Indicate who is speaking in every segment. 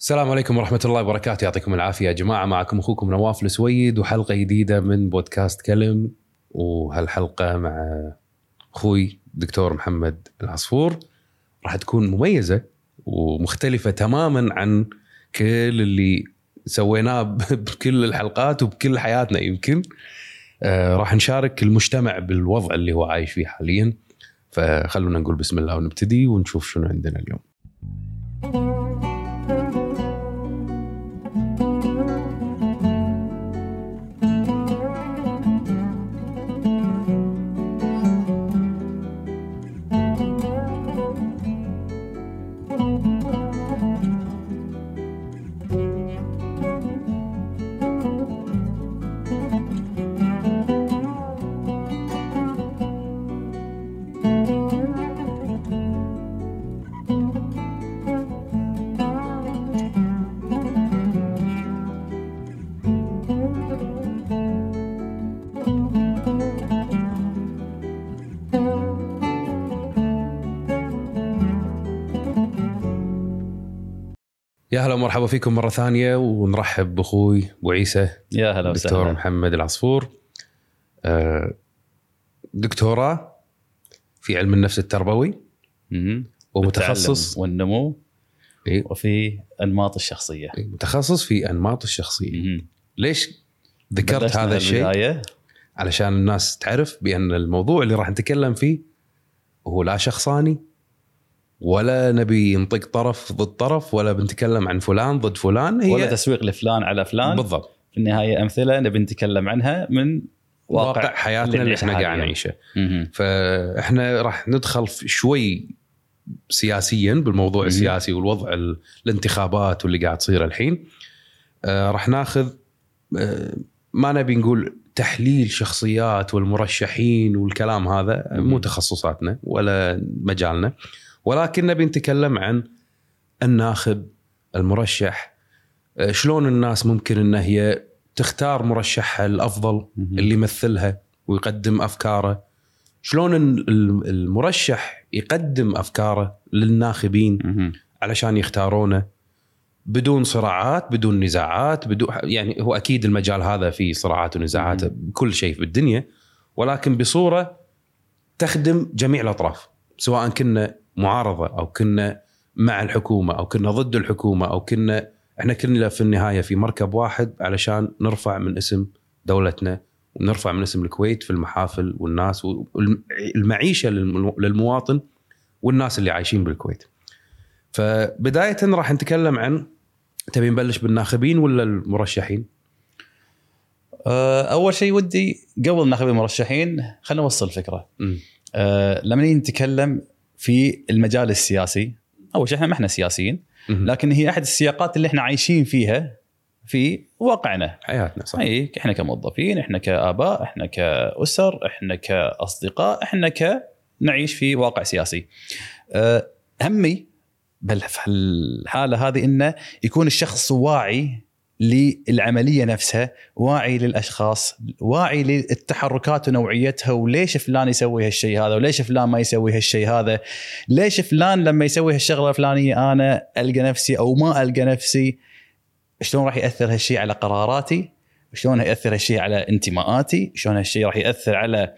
Speaker 1: السلام عليكم ورحمة الله وبركاته يعطيكم العافية يا جماعة معكم أخوكم نواف السويد وحلقة جديدة من بودكاست كلم وهالحلقة مع أخوي الدكتور محمد العصفور راح تكون مميزة ومختلفة تماما عن كل اللي سويناه ب- بكل الحلقات وبكل حياتنا يمكن آه، راح نشارك المجتمع بالوضع اللي هو عايش فيه حاليا فخلونا نقول بسم الله ونبتدي ونشوف شنو عندنا اليوم يا هلا ومرحبا فيكم مرة ثانية ونرحب بأخوي أبو عيسى
Speaker 2: يا هلا
Speaker 1: دكتور
Speaker 2: وسهلا
Speaker 1: محمد العصفور آه، دكتوراه في علم النفس التربوي
Speaker 2: مهم.
Speaker 1: ومتخصص
Speaker 2: بالتعلم والنمو
Speaker 1: إيه.
Speaker 2: وفي انماط الشخصيه
Speaker 1: متخصص في انماط الشخصيه
Speaker 2: مهم.
Speaker 1: ليش ذكرت
Speaker 2: بلشنا
Speaker 1: هذا الشيء
Speaker 2: البداية.
Speaker 1: علشان الناس تعرف بان الموضوع اللي راح نتكلم فيه هو لا شخصاني ولا نبي ينطق طرف ضد طرف ولا بنتكلم عن فلان ضد فلان هي
Speaker 2: ولا تسويق لفلان على فلان
Speaker 1: بالضبط
Speaker 2: في النهايه امثله نبي نتكلم عنها من
Speaker 1: واقع,
Speaker 2: واقع,
Speaker 1: حياتنا اللي
Speaker 2: اللي
Speaker 1: احنا قاعد
Speaker 2: حالياً.
Speaker 1: نعيشه
Speaker 2: مهم.
Speaker 1: فاحنا راح ندخل في- شوي سياسيا بالموضوع
Speaker 2: مم.
Speaker 1: السياسي والوضع ال- الانتخابات واللي قاعد تصير الحين آه، راح ناخذ آه، ما نبي نقول تحليل شخصيات والمرشحين والكلام هذا
Speaker 2: مم.
Speaker 1: مو تخصصاتنا ولا مجالنا ولكن نبي نتكلم عن الناخب المرشح آه، شلون الناس ممكن انها هي تختار مرشحها الافضل
Speaker 2: مهم.
Speaker 1: اللي يمثلها ويقدم افكاره شلون ال- ال- المرشح يقدم افكاره للناخبين
Speaker 2: مهم.
Speaker 1: علشان يختارونه بدون صراعات بدون نزاعات بدون يعني هو اكيد المجال هذا فيه صراعات ونزاعات
Speaker 2: مم.
Speaker 1: بكل شيء في الدنيا ولكن بصوره تخدم جميع الاطراف سواء كنا معارضه او كنا مع الحكومه او كنا ضد الحكومه او كنا احنا كلنا في النهايه في مركب واحد علشان نرفع من اسم دولتنا ونرفع من اسم الكويت في المحافل والناس والمعيشه للمواطن والناس اللي عايشين بالكويت. فبدايه راح نتكلم عن تبي نبلش بالناخبين ولا المرشحين؟
Speaker 2: آه، اول شيء ودي قبل ناخذ المرشحين خلينا نوصل الفكره
Speaker 1: مم.
Speaker 2: أه لما نيجي نتكلم في المجال السياسي اول شيء احنا ما احنا سياسيين
Speaker 1: مم.
Speaker 2: لكن هي احد السياقات اللي احنا عايشين فيها في واقعنا
Speaker 1: حياتنا صح؟
Speaker 2: اي احنا إيه، كموظفين احنا كاباء احنا كاسر احنا كاصدقاء احنا كنعيش في واقع سياسي أه، همي بل في الحاله هذه انه يكون الشخص واعي للعمليه نفسها واعي للاشخاص واعي للتحركات ونوعيتها وليش فلان يسوي هالشيء هذا وليش فلان ما يسوي هالشيء هذا ليش فلان لما يسوي هالشغله الفلانيه انا القى نفسي او ما القى نفسي شلون راح ياثر هالشيء على قراراتي شلون ياثر هالشيء على انتماءاتي شلون هالشيء راح ياثر على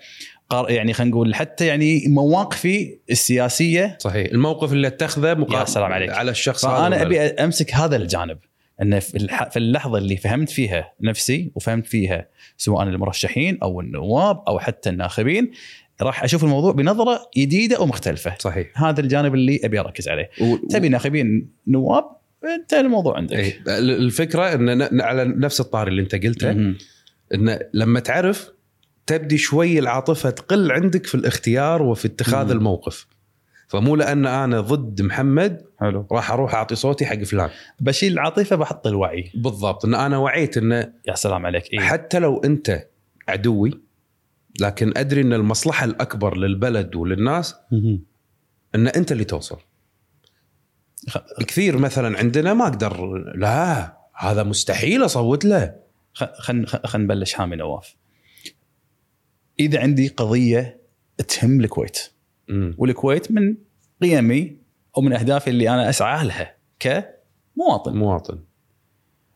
Speaker 2: قر... يعني خلينا نقول حتى يعني مواقفي السياسيه
Speaker 1: صحيح الموقف اللي اتخذه
Speaker 2: يا
Speaker 1: مقابل
Speaker 2: سلام عليك.
Speaker 1: على الشخص
Speaker 2: فانا
Speaker 1: هذا
Speaker 2: ابي امسك هذا الجانب ان في الح- في اللحظه اللي فهمت فيها نفسي وفهمت فيها سواء المرشحين او النواب او حتى الناخبين راح اشوف الموضوع بنظره جديده ومختلفه
Speaker 1: صحيح
Speaker 2: هذا الجانب اللي ابي اركز عليه
Speaker 1: و...
Speaker 2: تبي ناخبين نواب انت الموضوع عندك
Speaker 1: إيه. الفكره ان ن- على نفس الطاري اللي انت قلته
Speaker 2: مهم.
Speaker 1: ان لما تعرف تبدي شوي العاطفه تقل عندك في الاختيار وفي اتخاذ
Speaker 2: مم.
Speaker 1: الموقف فمو لان انا ضد محمد
Speaker 2: حلو
Speaker 1: راح اروح اعطي صوتي حق فلان
Speaker 2: بشيل العاطفه بحط الوعي
Speaker 1: بالضبط ان انا وعيت ان
Speaker 2: يا سلام عليك إيه؟
Speaker 1: حتى لو انت عدوي لكن ادري ان المصلحه الاكبر للبلد وللناس ان انت اللي توصل
Speaker 2: خ-
Speaker 1: كثير مثلا عندنا ما اقدر لا هذا مستحيل اصوت له
Speaker 2: خ- خل خل- خل نبلش حامي نواف اذا عندي قضيه تهم الكويت
Speaker 1: مم.
Speaker 2: والكويت من قيمي او من اهدافي اللي انا اسعى لها مواطن
Speaker 1: مواطن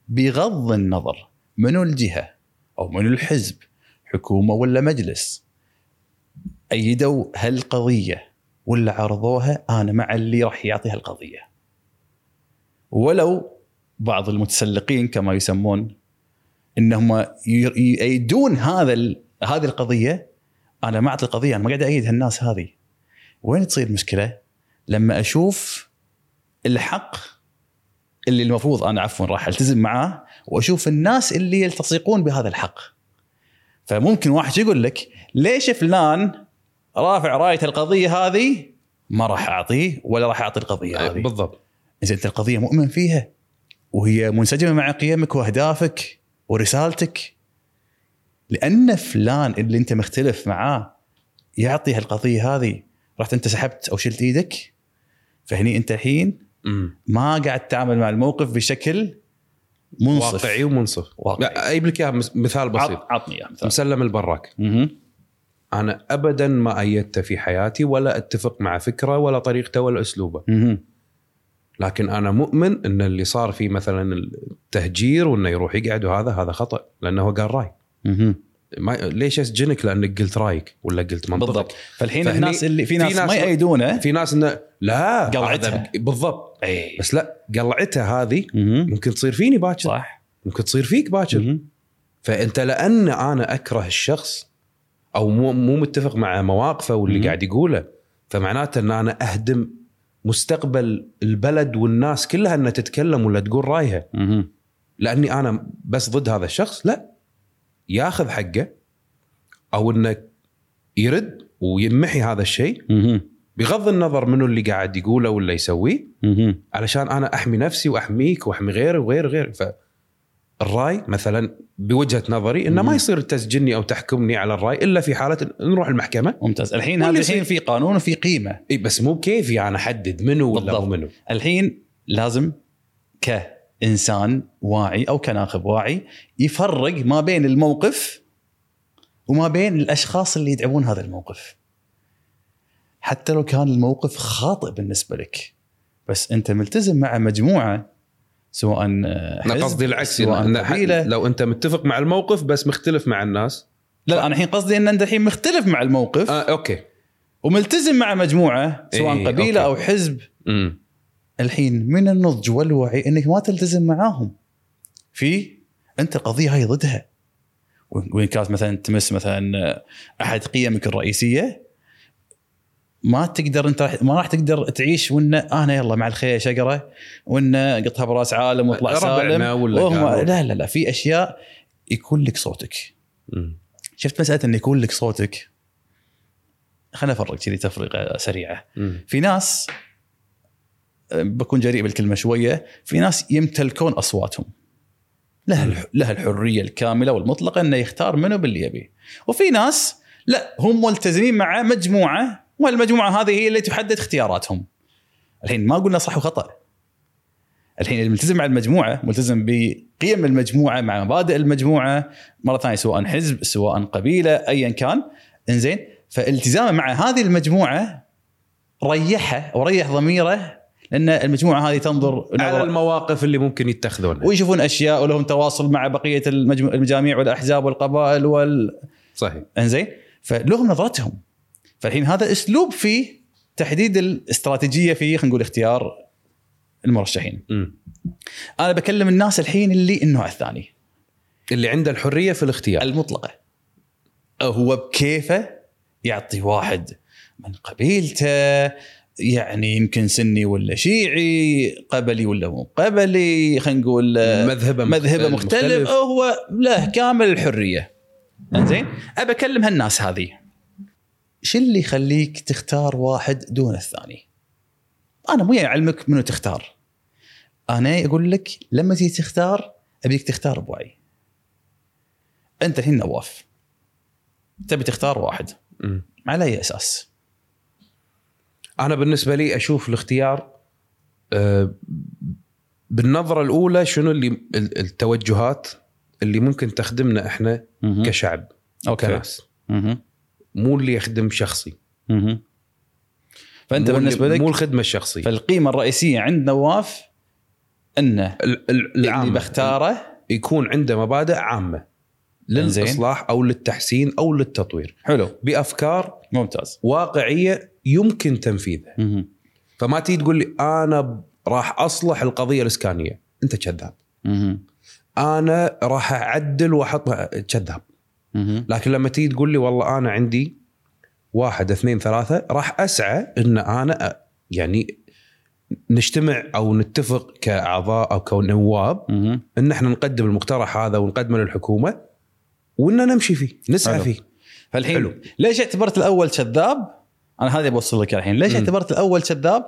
Speaker 2: بغض النظر منو الجهه او منو الحزب حكومه ولا مجلس ايدوا هالقضيه ولا عرضوها انا مع اللي راح يعطي هالقضيه ولو بعض المتسلقين كما يسمون انهم ي- يؤيدون هذا ال- هذه القضيه انا ما اعطي القضيه انا ما قاعد ايد هالناس هذه وين تصير المشكله؟ لما اشوف الحق اللي المفروض انا عفوا راح التزم معاه واشوف الناس اللي يلتصقون بهذا الحق. فممكن واحد يقول لك ليش فلان رافع رايه القضيه هذه ما راح اعطيه ولا راح اعطي القضيه
Speaker 1: طيب،
Speaker 2: هذه.
Speaker 1: بالضبط
Speaker 2: زين انت القضيه مؤمن فيها وهي منسجمه مع قيمك واهدافك ورسالتك لان فلان اللي انت مختلف معاه يعطي هالقضيه هذه رحت انت سحبت او شلت ايدك فهني انت الحين
Speaker 1: مم.
Speaker 2: ما قاعد تتعامل مع الموقف بشكل منصف
Speaker 1: واقعي ومنصف
Speaker 2: واقعي
Speaker 1: لا اجيب لك اياها مس- مثال بسيط
Speaker 2: عط- عطني اياه مثال
Speaker 1: مسلم البراك
Speaker 2: مهم.
Speaker 1: انا ابدا ما ايدته في حياتي ولا اتفق مع فكره ولا طريقته ولا اسلوبه
Speaker 2: مهم.
Speaker 1: لكن انا مؤمن ان اللي صار فيه مثلا التهجير وانه يروح يقعد وهذا هذا خطا لانه هو قال راي
Speaker 2: مهم.
Speaker 1: ما ليش اسجنك لانك قلت رايك ولا قلت منطقك
Speaker 2: بالضبط فالحين
Speaker 1: فهني
Speaker 2: الناس اللي في ناس, ما يأيدونه
Speaker 1: في ناس انه لا
Speaker 2: قلعتها.
Speaker 1: هذا بالضبط
Speaker 2: اي
Speaker 1: بس لا قلعتها هذه
Speaker 2: مهم.
Speaker 1: ممكن تصير فيني باكر
Speaker 2: صح
Speaker 1: ممكن تصير فيك باكر
Speaker 2: مهم.
Speaker 1: فانت لان انا اكره الشخص او مو مو متفق مع مواقفه واللي
Speaker 2: مم.
Speaker 1: قاعد يقوله فمعناته ان انا اهدم مستقبل البلد والناس كلها انها تتكلم ولا تقول رايها
Speaker 2: مهم.
Speaker 1: لاني انا بس ضد هذا الشخص لا ياخذ حقه او انه يرد ويمحي هذا الشيء
Speaker 2: مهم.
Speaker 1: بغض النظر منو اللي قاعد يقوله ولا يسويه
Speaker 2: مهم.
Speaker 1: علشان انا احمي نفسي واحميك واحمي غيري وغيري وغيري فالراي مثلا بوجهه نظري انه ما
Speaker 2: مم.
Speaker 1: يصير تسجني او تحكمني على الراي الا في حاله إن- نروح المحكمه
Speaker 2: ممتاز الحين هذا
Speaker 1: واللي يصير-
Speaker 2: الحين في قانون وفي قيمه
Speaker 1: اي بس مو بكيفي انا احدد منو ولا
Speaker 2: بالضبط.
Speaker 1: مو منو
Speaker 2: الحين لازم كانسان واعي او كناخب واعي يفرق ما بين الموقف وما بين الاشخاص اللي يدعمون هذا الموقف حتى لو كان الموقف خاطئ بالنسبه لك بس انت ملتزم مع مجموعه سواء آه،
Speaker 1: انا
Speaker 2: حزب،
Speaker 1: قصدي العكس
Speaker 2: سواء
Speaker 1: إن- إن
Speaker 2: قبيله
Speaker 1: لو انت متفق مع الموقف بس مختلف مع الناس
Speaker 2: لا لا، انا الحين قصدي ان انت الحين مختلف مع الموقف
Speaker 1: آه اوكي
Speaker 2: وملتزم مع مجموعه سواء
Speaker 1: إيه،
Speaker 2: قبيله او
Speaker 1: أوكي.
Speaker 2: حزب
Speaker 1: امم
Speaker 2: الحين من النضج والوعي انك ما تلتزم معاهم في انت القضيه هاي ضدها وإن- وان كانت مثلا تمس مثلا احد قيمك الرئيسيه ما تقدر انت راح- ما راح تقدر تعيش وان انا يلا مع الخير يا شقره وان قطها براس عالم واطلع
Speaker 1: ربعنا
Speaker 2: سالم
Speaker 1: ولا
Speaker 2: وهم-
Speaker 1: قالوا.
Speaker 2: لا لا لا في اشياء يكون لك صوتك
Speaker 1: أمم.
Speaker 2: شفت مساله ان يكون لك صوتك خلينا افرق كذي تفرقه سريعه
Speaker 1: أمم.
Speaker 2: في ناس أه، بكون جريء بالكلمه شويه في ناس يمتلكون اصواتهم لها الح- لها الحريه الكامله والمطلقه انه يختار منو باللي يبيه وفي ناس لا هم ملتزمين مع مجموعه والمجموعه هذه هي اللي تحدد اختياراتهم الحين ما قلنا صح وخطا الحين اللي ملتزم مع المجموعه ملتزم بقيم المجموعه مع مبادئ المجموعه مره ثانيه سواء حزب سواء قبيله ايا كان انزين فالتزامه مع هذه المجموعه ريحه وريح ضميره لان المجموعه هذه تنظر
Speaker 1: على
Speaker 2: نظرة-
Speaker 1: المواقف اللي ممكن يتخذونها
Speaker 2: ويشوفون اشياء ولهم تواصل مع بقيه المجمو... المجاميع والاحزاب والقبائل وال
Speaker 1: صحيح
Speaker 2: انزين فلهم نظرتهم فالحين هذا اسلوب في تحديد الاستراتيجيه في خلينا نقول اختيار المرشحين
Speaker 1: أمم.
Speaker 2: انا بكلم الناس الحين اللي النوع الثاني
Speaker 1: اللي عنده الحريه في الاختيار
Speaker 2: المطلقه هو بكيفه يعطي واحد من قبيلته يعني يمكن سني ولا شيعي قبلي ولا مو قبلي خلينا نقول آه،
Speaker 1: مذهبه مخ-
Speaker 2: مذهبه مختلف, مختلف. أو هو له كامل الحريه انزين ابى اكلم هالناس هذه شو اللي يخليك تختار واحد دون الثاني انا مو يعلمك منو تختار انا اقول لك لما تيجي تختار ابيك تختار بوعي انت الحين نواف تبي تختار واحد
Speaker 1: أمم.
Speaker 2: على اي اساس
Speaker 1: انا بالنسبه لي اشوف الاختيار آه، بالنظره الاولى شنو اللي ال- التوجهات اللي ممكن تخدمنا احنا كشعب او
Speaker 2: أوكي.
Speaker 1: كناس
Speaker 2: مهم.
Speaker 1: مو اللي يخدم شخصي
Speaker 2: مهم.
Speaker 1: مو
Speaker 2: فانت
Speaker 1: اللي-
Speaker 2: بالنسبه لك
Speaker 1: مو الخدمه الشخصيه
Speaker 2: فالقيمه الرئيسيه عند نواف انه
Speaker 1: ال- ال-
Speaker 2: اللي
Speaker 1: العامة.
Speaker 2: بختاره
Speaker 1: يكون عنده مبادئ عامه للاصلاح او للتحسين او للتطوير
Speaker 2: حلو
Speaker 1: بافكار
Speaker 2: ممتاز
Speaker 1: واقعيه يمكن تنفيذها
Speaker 2: مهم.
Speaker 1: فما تيجي تقول لي انا ب- راح اصلح القضيه الاسكانيه انت كذاب
Speaker 2: مهم.
Speaker 1: انا راح اعدل واحطها كذاب
Speaker 2: مهم.
Speaker 1: لكن لما تيجي تقول لي والله انا عندي واحد اثنين ثلاثه راح اسعى ان انا أ- يعني نجتمع او نتفق كاعضاء او كنواب
Speaker 2: مهم.
Speaker 1: ان احنا نقدم المقترح هذا ونقدمه للحكومه وان نمشي فيه نسعى
Speaker 2: حلو.
Speaker 1: فيه
Speaker 2: فالحين
Speaker 1: حلو.
Speaker 2: ليش اعتبرت الاول كذاب؟ انا هذا بوصل لك الحين، ليش
Speaker 1: مم.
Speaker 2: اعتبرت الاول كذاب؟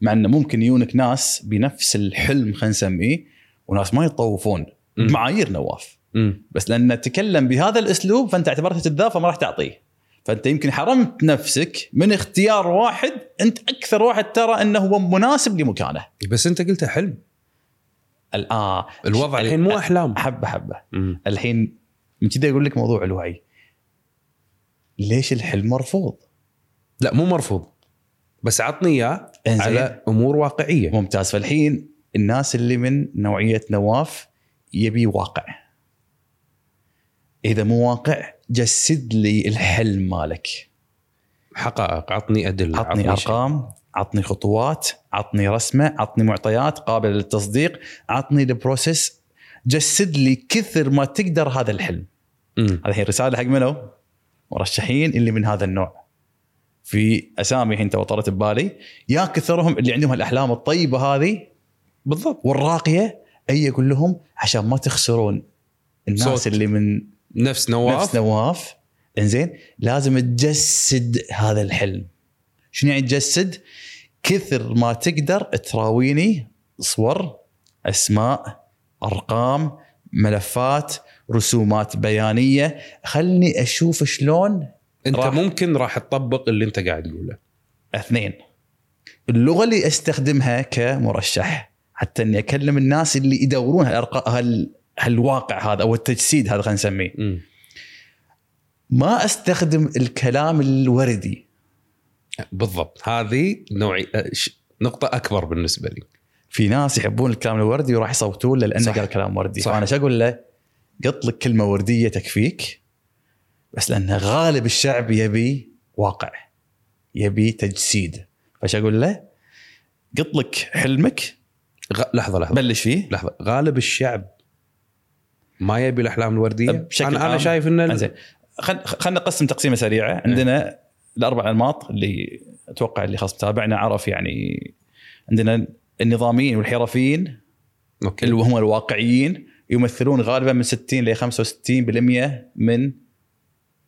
Speaker 2: مع انه ممكن يجونك ناس بنفس الحلم خلينا نسميه وناس ما يتطوفون
Speaker 1: مم.
Speaker 2: بمعايير نواف
Speaker 1: مم.
Speaker 2: بس لان تكلم بهذا الاسلوب فانت اعتبرته كذاب فما راح تعطيه فانت يمكن حرمت نفسك من اختيار واحد انت اكثر واحد ترى انه هو مناسب لمكانه
Speaker 1: بس انت قلت حلم
Speaker 2: الان
Speaker 1: الوضع الحين مو احلام
Speaker 2: حبه حبه
Speaker 1: يعني مم.
Speaker 2: الحين من كذا اقول لك موضوع الوعي ليش الحلم مرفوض؟
Speaker 1: لا مو مرفوض بس عطني اياه
Speaker 2: إنزين.
Speaker 1: على امور واقعيه
Speaker 2: ممتاز فالحين الناس اللي من نوعيه نواف يبي واقع اذا مو واقع جسد لي الحلم مالك
Speaker 1: حقائق عطني ادله
Speaker 2: عطني
Speaker 1: شيء.
Speaker 2: ارقام عطني خطوات عطني رسمه عطني معطيات قابله للتصديق عطني البروسيس جسد لي كثر ما تقدر هذا الحلم
Speaker 1: مم.
Speaker 2: هذا الحين رساله حق منو مرشحين اللي من هذا النوع في اسامي الحين تو طرت ببالي يا كثرهم اللي عندهم الاحلام الطيبه هذه
Speaker 1: بالضبط
Speaker 2: والراقيه اي اقول لهم عشان ما تخسرون الناس
Speaker 1: صوت.
Speaker 2: صوت. اللي من
Speaker 1: نفس نواف
Speaker 2: نفس نواف انزين لازم تجسد هذا الحلم شنو يعني تجسد؟ كثر ما تقدر تراويني صور اسماء ارقام ملفات رسومات بيانيه خلني اشوف شلون
Speaker 1: انت
Speaker 2: راح-
Speaker 1: راح. ممكن راح تطبق اللي انت قاعد تقوله
Speaker 2: اثنين اللغه اللي استخدمها كمرشح حتى اني اكلم الناس اللي يدورون هالأرق- هال هالواقع هذا او التجسيد هذا خلينا نسميه ما استخدم الكلام الوردي
Speaker 1: بالضبط هذه نوعي أه، ش- نقطة أكبر بالنسبة لي
Speaker 2: في ناس يحبون الكلام الوردي وراح يصوتون له لانه
Speaker 1: صح.
Speaker 2: قال كلام وردي
Speaker 1: صح.
Speaker 2: فانا شو اقول له قط لك كلمه ورديه تكفيك بس لان غالب الشعب يبي واقع يبي تجسيد فش اقول له قط لك حلمك
Speaker 1: غ... لحظة لحظة
Speaker 2: بلش فيه
Speaker 1: لحظة غالب الشعب ما يبي الأحلام الوردية
Speaker 2: طيب، بشكل
Speaker 1: أنا, أنا
Speaker 2: عام.
Speaker 1: شايف أن ال-
Speaker 2: زين خل خلينا نقسم تقسيمه
Speaker 1: نعم.
Speaker 2: سريعه عندنا الاربع انماط اللي اتوقع اللي خلاص متابعنا عرف يعني عندنا النظاميين والحرفيين
Speaker 1: أوكي.
Speaker 2: اللي هم الواقعيين يمثلون غالبا من 60 ل 65% من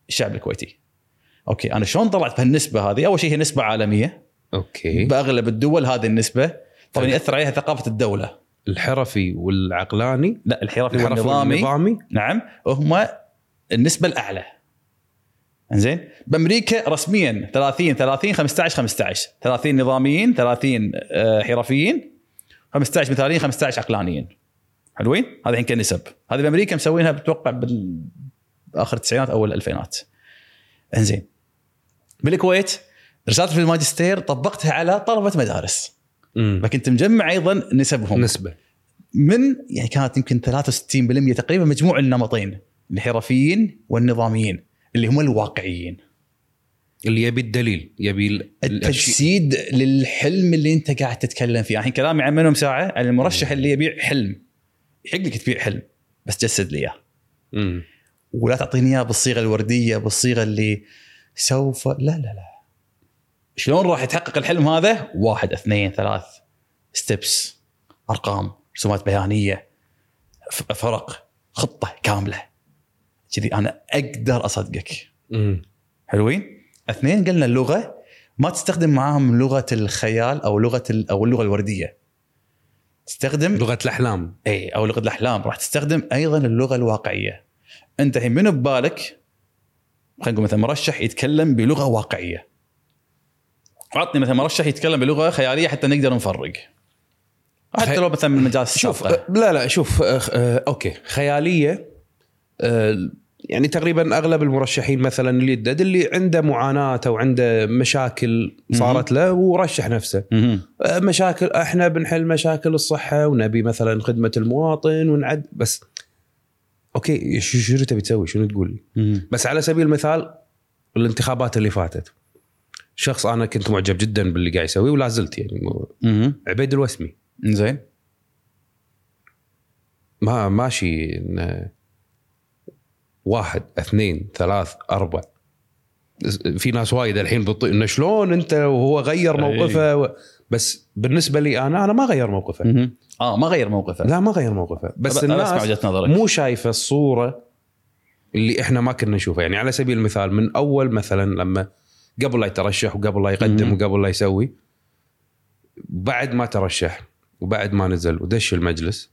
Speaker 2: الشعب الكويتي. اوكي انا شلون طلعت بهالنسبه هذه؟ اول شيء هي نسبه عالميه
Speaker 1: أوكي
Speaker 2: باغلب الدول هذه النسبه طبعا
Speaker 1: حلو.
Speaker 2: ياثر عليها ثقافه الدوله.
Speaker 1: الحرفي والعقلاني
Speaker 2: لا الحرفي
Speaker 1: الحرفي
Speaker 2: والنظامي
Speaker 1: والنظامي
Speaker 2: نعم هم النسبه الاعلى زين بامريكا رسميا 30 30 15 15 30 نظاميين 30 آه، حرفيين 15 مثاليين 15 عقلانيين حلوين هذا الحين كنسب هذه بامريكا مسوينها بتوقع بال اخر التسعينات اول الالفينات انزين بالكويت رسالتي في الماجستير طبقتها على طلبه مدارس
Speaker 1: مم.
Speaker 2: فكنت مجمع ايضا نسبهم
Speaker 1: نسبة
Speaker 2: من يعني كانت يمكن 63% تقريبا مجموع النمطين الحرفيين والنظاميين اللي هم الواقعيين
Speaker 1: اللي يبي الدليل يبي ال- الأشياء.
Speaker 2: التجسيد للحلم اللي انت قاعد تتكلم فيه الحين كلامي عن منهم ساعه عن المرشح اللي يبيع حلم يحق لك تبيع حلم بس جسد لي اياه
Speaker 1: مم.
Speaker 2: ولا تعطيني اياه بالصيغه الورديه بالصيغه اللي سوف لا لا لا شلون راح يتحقق الحلم هذا؟ واحد اثنين ثلاث ستبس ارقام رسومات بيانيه ف- فرق خطه كامله كذي انا اقدر اصدقك
Speaker 1: مم.
Speaker 2: حلوين؟ اثنين قلنا اللغه ما تستخدم معاهم لغه الخيال او لغه ال- او اللغه الورديه تستخدم
Speaker 1: لغة الأحلام
Speaker 2: اي او لغه الاحلام راح تستخدم ايضا اللغه الواقعيه انت الحين منو ببالك خلينا نقول مثلا مرشح يتكلم بلغه واقعيه عطني مثلا مرشح يتكلم بلغه خياليه حتى نقدر نفرق حتى
Speaker 1: خي-
Speaker 2: لو مثلا من مجال
Speaker 1: شوف آه،
Speaker 2: السابقه
Speaker 1: أه، لا لا شوف أه، أه، أوكي خيالية أه، يعني تقريبا اغلب المرشحين مثلا اللي يدد اللي عنده معاناه او عنده مشاكل صارت له ورشح نفسه
Speaker 2: مهم.
Speaker 1: أه، مشاكل احنا بنحل مشاكل الصحه ونبي مثلا خدمه المواطن ونعد بس اوكي شو شو تبي تسوي شنو تقول لي؟
Speaker 2: مهم.
Speaker 1: بس على سبيل المثال الانتخابات اللي فاتت شخص انا كنت معجب جدا باللي قاعد يسويه ولا زلت يعني مو-
Speaker 2: مهم.
Speaker 1: عبيد الوسمي
Speaker 2: زين
Speaker 1: ما ماشي إن واحد اثنين ثلاث اربع في ناس وايد الحين بتط... انه شلون انت وهو غير
Speaker 2: أي.
Speaker 1: موقفه و... بس بالنسبه لي انا انا ما غير موقفه
Speaker 2: مهم. اه ما غير موقفه
Speaker 1: لا ما غير موقفه بس
Speaker 2: أب- أنا اسمع
Speaker 1: الناس
Speaker 2: وجهه نظرك
Speaker 1: مو شايفه الصوره اللي احنا ما كنا نشوفها يعني على سبيل المثال من اول مثلا لما قبل لا يترشح وقبل لا يقدم
Speaker 2: مم.
Speaker 1: وقبل لا يسوي بعد ما ترشح وبعد ما نزل ودش المجلس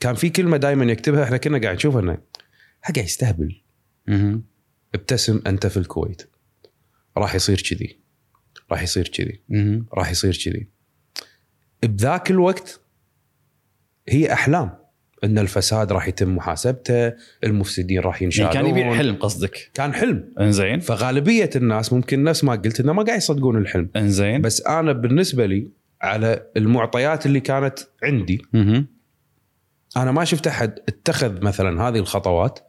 Speaker 1: كان في كلمه دائما يكتبها احنا كنا قاعد نشوفها انه ها قاعد يستهبل
Speaker 2: مهم.
Speaker 1: ابتسم انت في الكويت راح يصير كذي راح يصير كذي
Speaker 2: مهم.
Speaker 1: راح يصير كذي بذاك الوقت هي احلام ان الفساد راح يتم محاسبته المفسدين راح
Speaker 2: يعني
Speaker 1: ينشالون
Speaker 2: كان يبيع حلم قصدك
Speaker 1: كان حلم
Speaker 2: انزين
Speaker 1: فغالبيه الناس ممكن نفس ما قلت انه ما قاعد يصدقون الحلم
Speaker 2: انزين
Speaker 1: بس انا بالنسبه لي على المعطيات اللي كانت عندي
Speaker 2: مهم.
Speaker 1: انا ما شفت احد اتخذ مثلا هذه الخطوات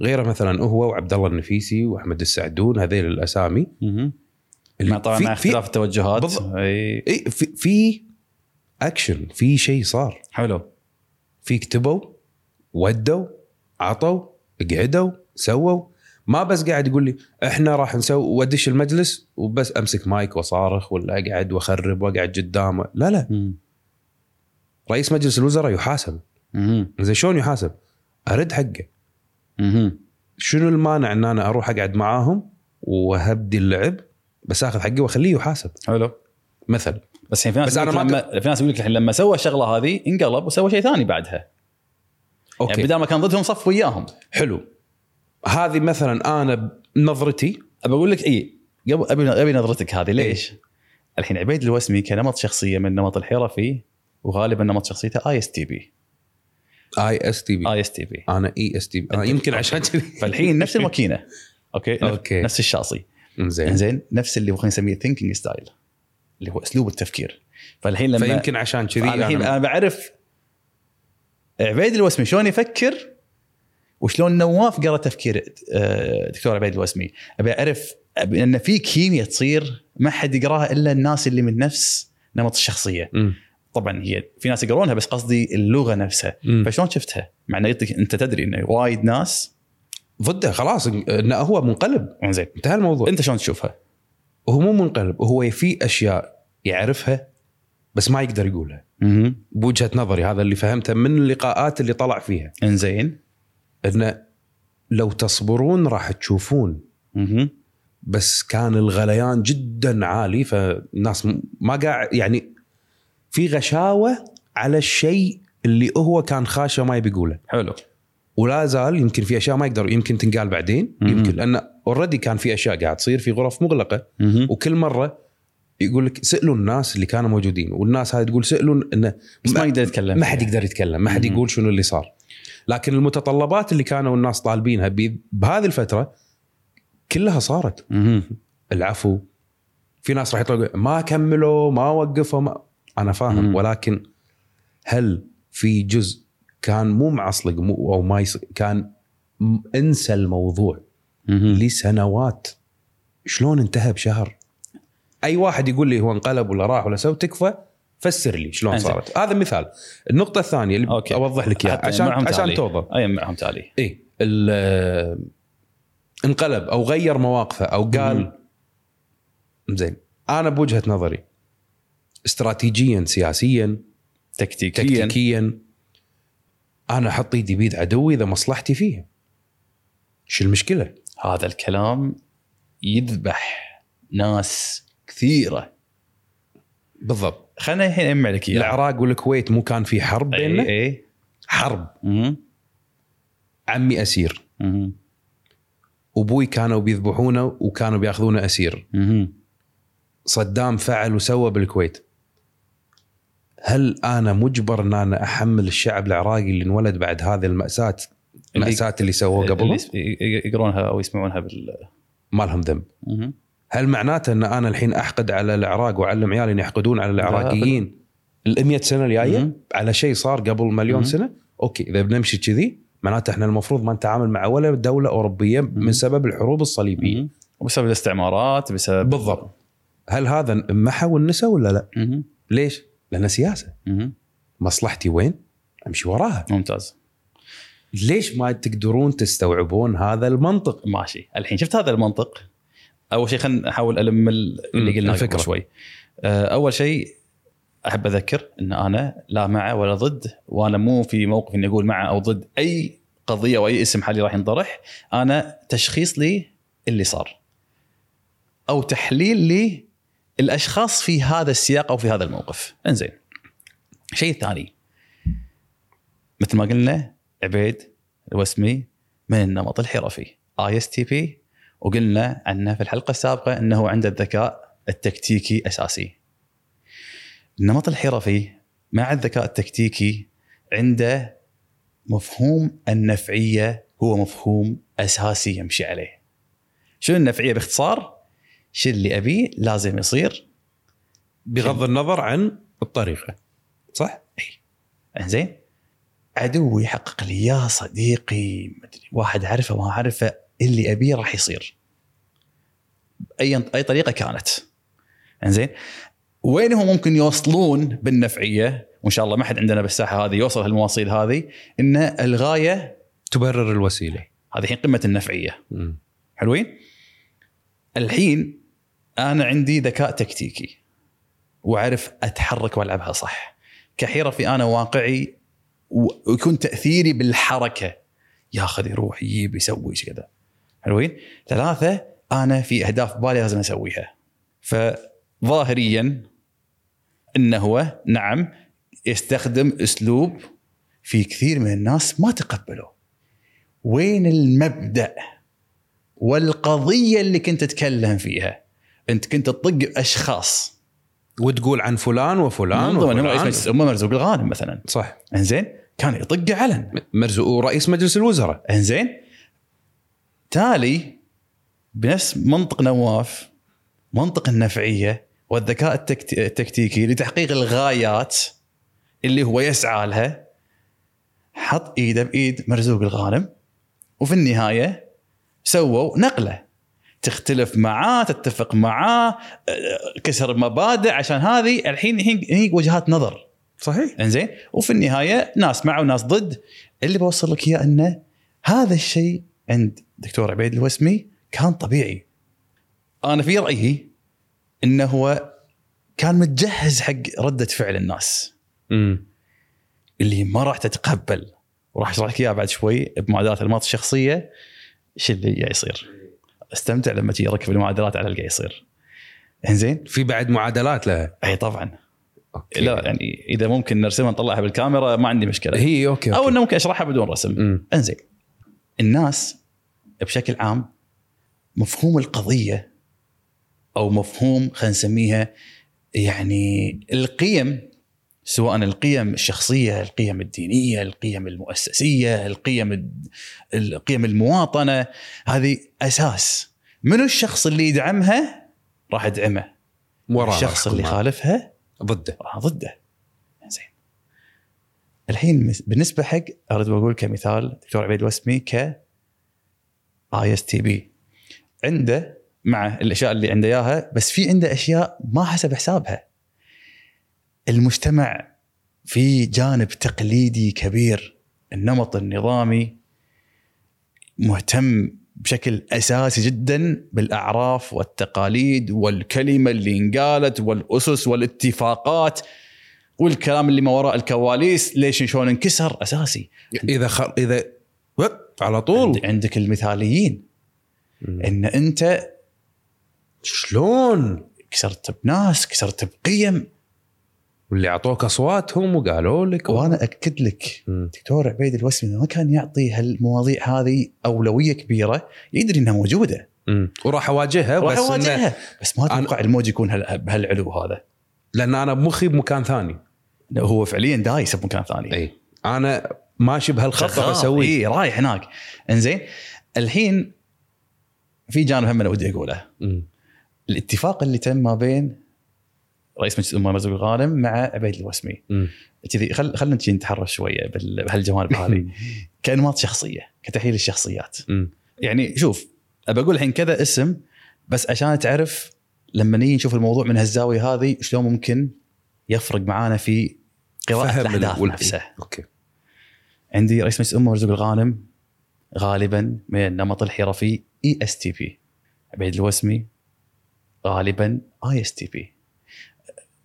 Speaker 1: غيره مثلا هو وعبد الله النفيسي واحمد السعدون هذيل الاسامي
Speaker 2: مهم.
Speaker 1: اللي
Speaker 2: مع طبعا
Speaker 1: في-
Speaker 2: مع اختلاف التوجهات
Speaker 1: بالضبط.
Speaker 2: اي
Speaker 1: في, إي، في, في اكشن في شيء صار
Speaker 2: حلو
Speaker 1: في كتبوا ودوا عطوا قعدوا سووا ما بس قاعد يقول لي احنا راح نسوي ودش المجلس وبس امسك مايك واصارخ ولا اقعد واخرب واقعد قدامه لا لا
Speaker 2: مهم.
Speaker 1: رئيس مجلس الوزراء يحاسب
Speaker 2: مهم.
Speaker 1: زين شلون يحاسب ارد حقه
Speaker 2: مهم.
Speaker 1: شنو المانع ان انا اروح اقعد معاهم وهبدي اللعب بس اخذ حقي واخليه يحاسب
Speaker 2: حلو
Speaker 1: مثلا
Speaker 2: بس يعني في ناس
Speaker 1: بس أنا
Speaker 2: يقولك
Speaker 1: ما
Speaker 2: لما في ناس يقول لك الحين لما سوى الشغله هذه انقلب وسوى شيء ثاني بعدها
Speaker 1: اوكي
Speaker 2: يعني بدل ما كان ضدهم صف وياهم
Speaker 1: حلو هذه مثلا انا نظرتي
Speaker 2: ابى اقول لك اي قبل ابي ابي نظرتك
Speaker 1: إيه.
Speaker 2: هذه ليش؟ الحين عبيد الوسمي كنمط شخصيه من نمط الحرفي وغالبا نمط شخصيته اي اس تي بي
Speaker 1: اي اس تي بي
Speaker 2: اي اس تي بي
Speaker 1: انا اي اس تي انا يمكن عشان كذي
Speaker 2: فالحين نفس الماكينه اوكي نف-
Speaker 1: أوكي. إيه.
Speaker 2: نفس الشاصي
Speaker 1: زين
Speaker 2: زين نفس اللي هو خلينا نسميه ثينكينج ستايل اللي هو اسلوب التفكير فالحين لما
Speaker 1: فيمكن عشان كذي
Speaker 2: فأنا يعني الحين
Speaker 1: طيب، أنا-
Speaker 2: انا بعرف عبيد الوسمي شلون يفكر وشلون نواف قرا تفكير آه، دكتور عبيد الوسمي ابي اعرف أبي ان في كيمياء تصير ما حد يقراها الا الناس اللي من نفس نمط الشخصيه
Speaker 1: أمم.
Speaker 2: طبعا هي في ناس يقرونها بس قصدي اللغه نفسها
Speaker 1: أمم.
Speaker 2: فشلون شفتها مع انه يعطيك انت تدري انه وايد ناس
Speaker 1: ضده خلاص انه هو منقلب
Speaker 2: زين
Speaker 1: انتهى الموضوع
Speaker 2: انت شلون تشوفها؟
Speaker 1: هو مو منقلب هو في اشياء يعرفها بس ما يقدر يقولها بوجهه نظري هذا اللي فهمته من اللقاءات اللي طلع فيها
Speaker 2: انزين
Speaker 1: انه لو تصبرون راح تشوفون
Speaker 2: مهم.
Speaker 1: بس كان الغليان جدا عالي فالناس م- ما قاعد يعني في غشاوه على الشيء اللي هو كان خاشه ما يبي يقوله
Speaker 2: حلو
Speaker 1: ولا زال يمكن في اشياء ما يقدر يمكن تنقال بعدين
Speaker 2: مم.
Speaker 1: يمكن لان اوريدي كان في اشياء قاعد تصير في غرف مغلقه وكل مره يقول لك سالوا الناس اللي كانوا موجودين والناس هاي تقول سالوا انه
Speaker 2: بس ما
Speaker 1: ما-
Speaker 2: يقدر يتكلم
Speaker 1: ما حد يقدر يتكلم ما حد
Speaker 2: مم.
Speaker 1: يقول شنو اللي صار لكن المتطلبات اللي كانوا الناس طالبينها بي- بهذه الفتره كلها صارت
Speaker 2: مهم.
Speaker 1: العفو في ناس راح يطلقوا ما كملوا ما وقفوا ما انا
Speaker 2: مم.
Speaker 1: فاهم ولكن هل في جزء كان مو معصلق مو او ما يص... كان م- انسى الموضوع
Speaker 2: مهم.
Speaker 1: لسنوات شلون انتهى بشهر اي واحد يقول لي هو انقلب ولا راح ولا سوى تكفى فسر لي شلون
Speaker 2: أنزين.
Speaker 1: صارت هذا مثال النقطه الثانيه اللي
Speaker 2: أوكي.
Speaker 1: اوضح لك اياها
Speaker 2: حتى
Speaker 1: عشان
Speaker 2: معهم
Speaker 1: عشان
Speaker 2: تعليق.
Speaker 1: توضح
Speaker 2: اي معهم تالي
Speaker 1: اي إيه، ال- آه، انقلب او غير مواقفه او
Speaker 2: مم.
Speaker 1: قال زين انا بوجهه نظري استراتيجيا سياسيا
Speaker 2: تكتيكيا
Speaker 1: تكتيكيا انا احط ايدي بيد عدوي اذا مصلحتي فيه شو المشكله؟
Speaker 2: هذا الكلام يذبح ناس كثيره
Speaker 1: بالضبط
Speaker 2: خلينا الحين اجمع لك اياها
Speaker 1: العراق والكويت مو كان في حرب بيننا؟
Speaker 2: اي اي
Speaker 1: حرب
Speaker 2: مهم.
Speaker 1: عمي اسير
Speaker 2: مهم.
Speaker 1: ابوي كانوا بيذبحونه وكانوا بياخذونه اسير
Speaker 2: مهم.
Speaker 1: صدام فعل وسوى بالكويت هل انا مجبر ان انا احمل الشعب العراقي اللي انولد بعد هذه الماساه
Speaker 2: اللي-
Speaker 1: المأساة اللي سووها
Speaker 2: اللي
Speaker 1: قبل
Speaker 2: يس- ي- يقرونها او يسمعونها بال
Speaker 1: ما لهم ذنب
Speaker 2: مهم.
Speaker 1: هل معناته ان انا الحين احقد على العراق واعلم عيالي ان يحقدون على العراقيين ال 100 سنه الجايه
Speaker 2: مهم.
Speaker 1: على شيء صار قبل مليون
Speaker 2: مهم.
Speaker 1: سنه اوكي اذا بنمشي كذي معناته احنا المفروض ما نتعامل مع ولا دوله اوروبيه من
Speaker 2: مهم.
Speaker 1: سبب الحروب الصليبيه
Speaker 2: مهم. وبسبب الاستعمارات بسبب
Speaker 1: بالضبط هل هذا محى والنسى ولا لا؟
Speaker 2: مهم.
Speaker 1: ليش؟ لان سياسه
Speaker 2: مهم.
Speaker 1: مصلحتي وين؟ امشي وراها
Speaker 2: ممتاز
Speaker 1: ليش ما تقدرون تستوعبون هذا المنطق؟
Speaker 2: ماشي الحين شفت هذا المنطق اول شيء خلينا نحاول الم ال-
Speaker 1: مم.
Speaker 2: اللي قلناه
Speaker 1: الفكرة.
Speaker 2: قبل شوي آه، اول شيء احب اذكر ان انا لا مع ولا ضد وانا مو في موقف اني اقول مع او ضد اي قضيه او اي اسم حالي راح ينطرح انا تشخيص لي اللي صار او تحليل لي الاشخاص في هذا السياق او في هذا الموقف انزين شيء ثاني مثل ما قلنا عبيد الوسمي من النمط الحرفي اي اس تي بي وقلنا عنه في الحلقه السابقه انه عنده الذكاء التكتيكي اساسي. النمط الحرفي مع الذكاء التكتيكي عنده مفهوم النفعيه هو مفهوم اساسي يمشي عليه. شنو النفعيه باختصار؟ شو اللي ابيه لازم يصير
Speaker 1: بغض النظر عن الطريقه صح؟
Speaker 2: انزين عدوي يحقق لي يا صديقي مدري واحد عرفه ما عرفه اللي ابيه راح يصير اي اي طريقه كانت انزين وين هم ممكن يوصلون بالنفعيه وان شاء الله ما حد عندنا بالساحه هذه يوصل هالمواصيل هذه ان الغايه
Speaker 1: تبرر الوسيله
Speaker 2: هذه الحين قمه النفعيه
Speaker 1: مم.
Speaker 2: حلوين الحين انا عندي ذكاء تكتيكي واعرف اتحرك والعبها صح كحرفي انا واقعي و- ويكون تاثيري بالحركه ياخذ يروح يجيب يسوي ايش كذا حلوين ثلاثه انا في اهداف بالي لازم اسويها فظاهريا انه هو نعم يستخدم اسلوب في كثير من الناس ما تقبله وين المبدا والقضيه اللي كنت تتكلم فيها انت كنت تطق باشخاص
Speaker 1: وتقول عن فلان وفلان
Speaker 2: من ضمنهم رئيس
Speaker 1: وفلان
Speaker 2: مجلس الامه مرزوق الغانم مثلا
Speaker 1: صح
Speaker 2: انزين كان يطق علن
Speaker 1: مرزوق ورئيس مجلس الوزراء
Speaker 2: انزين تالي بنفس منطق نواف منطق النفعيه والذكاء التكت- التكتيكي لتحقيق الغايات اللي هو يسعى لها حط ايده بايد مرزوق الغانم وفي النهايه سووا نقله تختلف معاه تتفق معاه أه، كسر مبادئ عشان هذه الحين الحين هي وجهات نظر
Speaker 1: صحيح
Speaker 2: انزين وفي النهايه ناس مع وناس ضد اللي بوصل لك اياه انه هذا الشيء عند دكتور عبيد الوسمي كان طبيعي انا في رايي انه هو كان متجهز حق رده فعل الناس
Speaker 1: مم.
Speaker 2: اللي ما راح تتقبل وراح اشرح لك اياها بعد شوي بمعادلات الماط الشخصيه شو اللي قاعد يصير استمتع لما تجي اركب المعادلات على اللي قاعد يصير انزين
Speaker 1: في بعد معادلات لها
Speaker 2: اي طبعا
Speaker 1: أوكي.
Speaker 2: لا يعني اذا ممكن نرسمها نطلعها بالكاميرا ما عندي مشكله
Speaker 1: هي اوكي, أوكي.
Speaker 2: او انه ممكن اشرحها بدون رسم
Speaker 1: مم.
Speaker 2: انزين الناس بشكل عام مفهوم القضيه او مفهوم خلينا نسميها يعني القيم سواء القيم الشخصيه، القيم الدينيه، القيم المؤسسيه، القيم الد- القيم المواطنه هذه اساس منو الشخص اللي يدعمها راح ادعمه
Speaker 1: وراها
Speaker 2: الشخص اللي
Speaker 1: حكومة.
Speaker 2: خالفها
Speaker 1: ضده
Speaker 2: راح ضده زين الحين مس- بالنسبه حق اريد بقول كمثال دكتور عبيد الوسمي ك اي اس تي بي عنده مع الاشياء اللي عنده اياها بس في عنده اشياء ما حسب حسابها المجتمع في جانب تقليدي كبير النمط النظامي مهتم بشكل اساسي جدا بالاعراف والتقاليد والكلمه اللي انقالت والاسس والاتفاقات والكلام اللي ما وراء الكواليس ليش شلون انكسر اساسي
Speaker 1: اذا خ... اذا وب على طول
Speaker 2: عند- عندك المثاليين
Speaker 1: مم.
Speaker 2: ان انت
Speaker 1: شلون
Speaker 2: كسرت بناس كسرت بقيم
Speaker 1: واللي اعطوك اصواتهم وقالوا لك
Speaker 2: وانا اكد لك
Speaker 1: مم.
Speaker 2: دكتور عبيد الوسمي ما كان يعطي هالمواضيع هذه اولويه كبيره يدري انها موجوده
Speaker 1: مم. وراح اواجهها
Speaker 2: راح
Speaker 1: بس إنه...
Speaker 2: يواجهها بس ما اتوقع الموج يكون هال- بهالعلو هذا
Speaker 1: لان انا بمخي بمكان ثاني إيه.
Speaker 2: هو فعليا دايس بمكان ثاني
Speaker 1: يعني اي انا ماشي بهالخط
Speaker 2: إيه. شغال.
Speaker 1: بسويه
Speaker 2: إيه رايح هناك انزين الحين في جانب هم انا ودي اقوله
Speaker 1: مم.
Speaker 2: الاتفاق اللي تم ما بين رئيس مجلس الامه مرزوق الغانم مع عبيد الوسمي
Speaker 1: مم.
Speaker 2: كذي خل خلنا نجي نتحرش شويه بال- بهالجوانب هذه
Speaker 1: إيه.
Speaker 2: كانماط شخصيه كتحليل الشخصيات
Speaker 1: مم.
Speaker 2: يعني شوف ابى اقول الحين كذا اسم بس عشان تعرف لما نيجي نشوف الموضوع من هالزاويه هذه شلون ممكن يفرق معانا في قراءه
Speaker 1: فهم
Speaker 2: الاحداث
Speaker 1: الأول.
Speaker 2: نفسها
Speaker 1: اوكي
Speaker 2: عندي رئيس مجلس الامه مرزوق الغانم غالبا من النمط الحرفي E اي اس تي بي عبيد الوسمي غالبا اي اس تي بي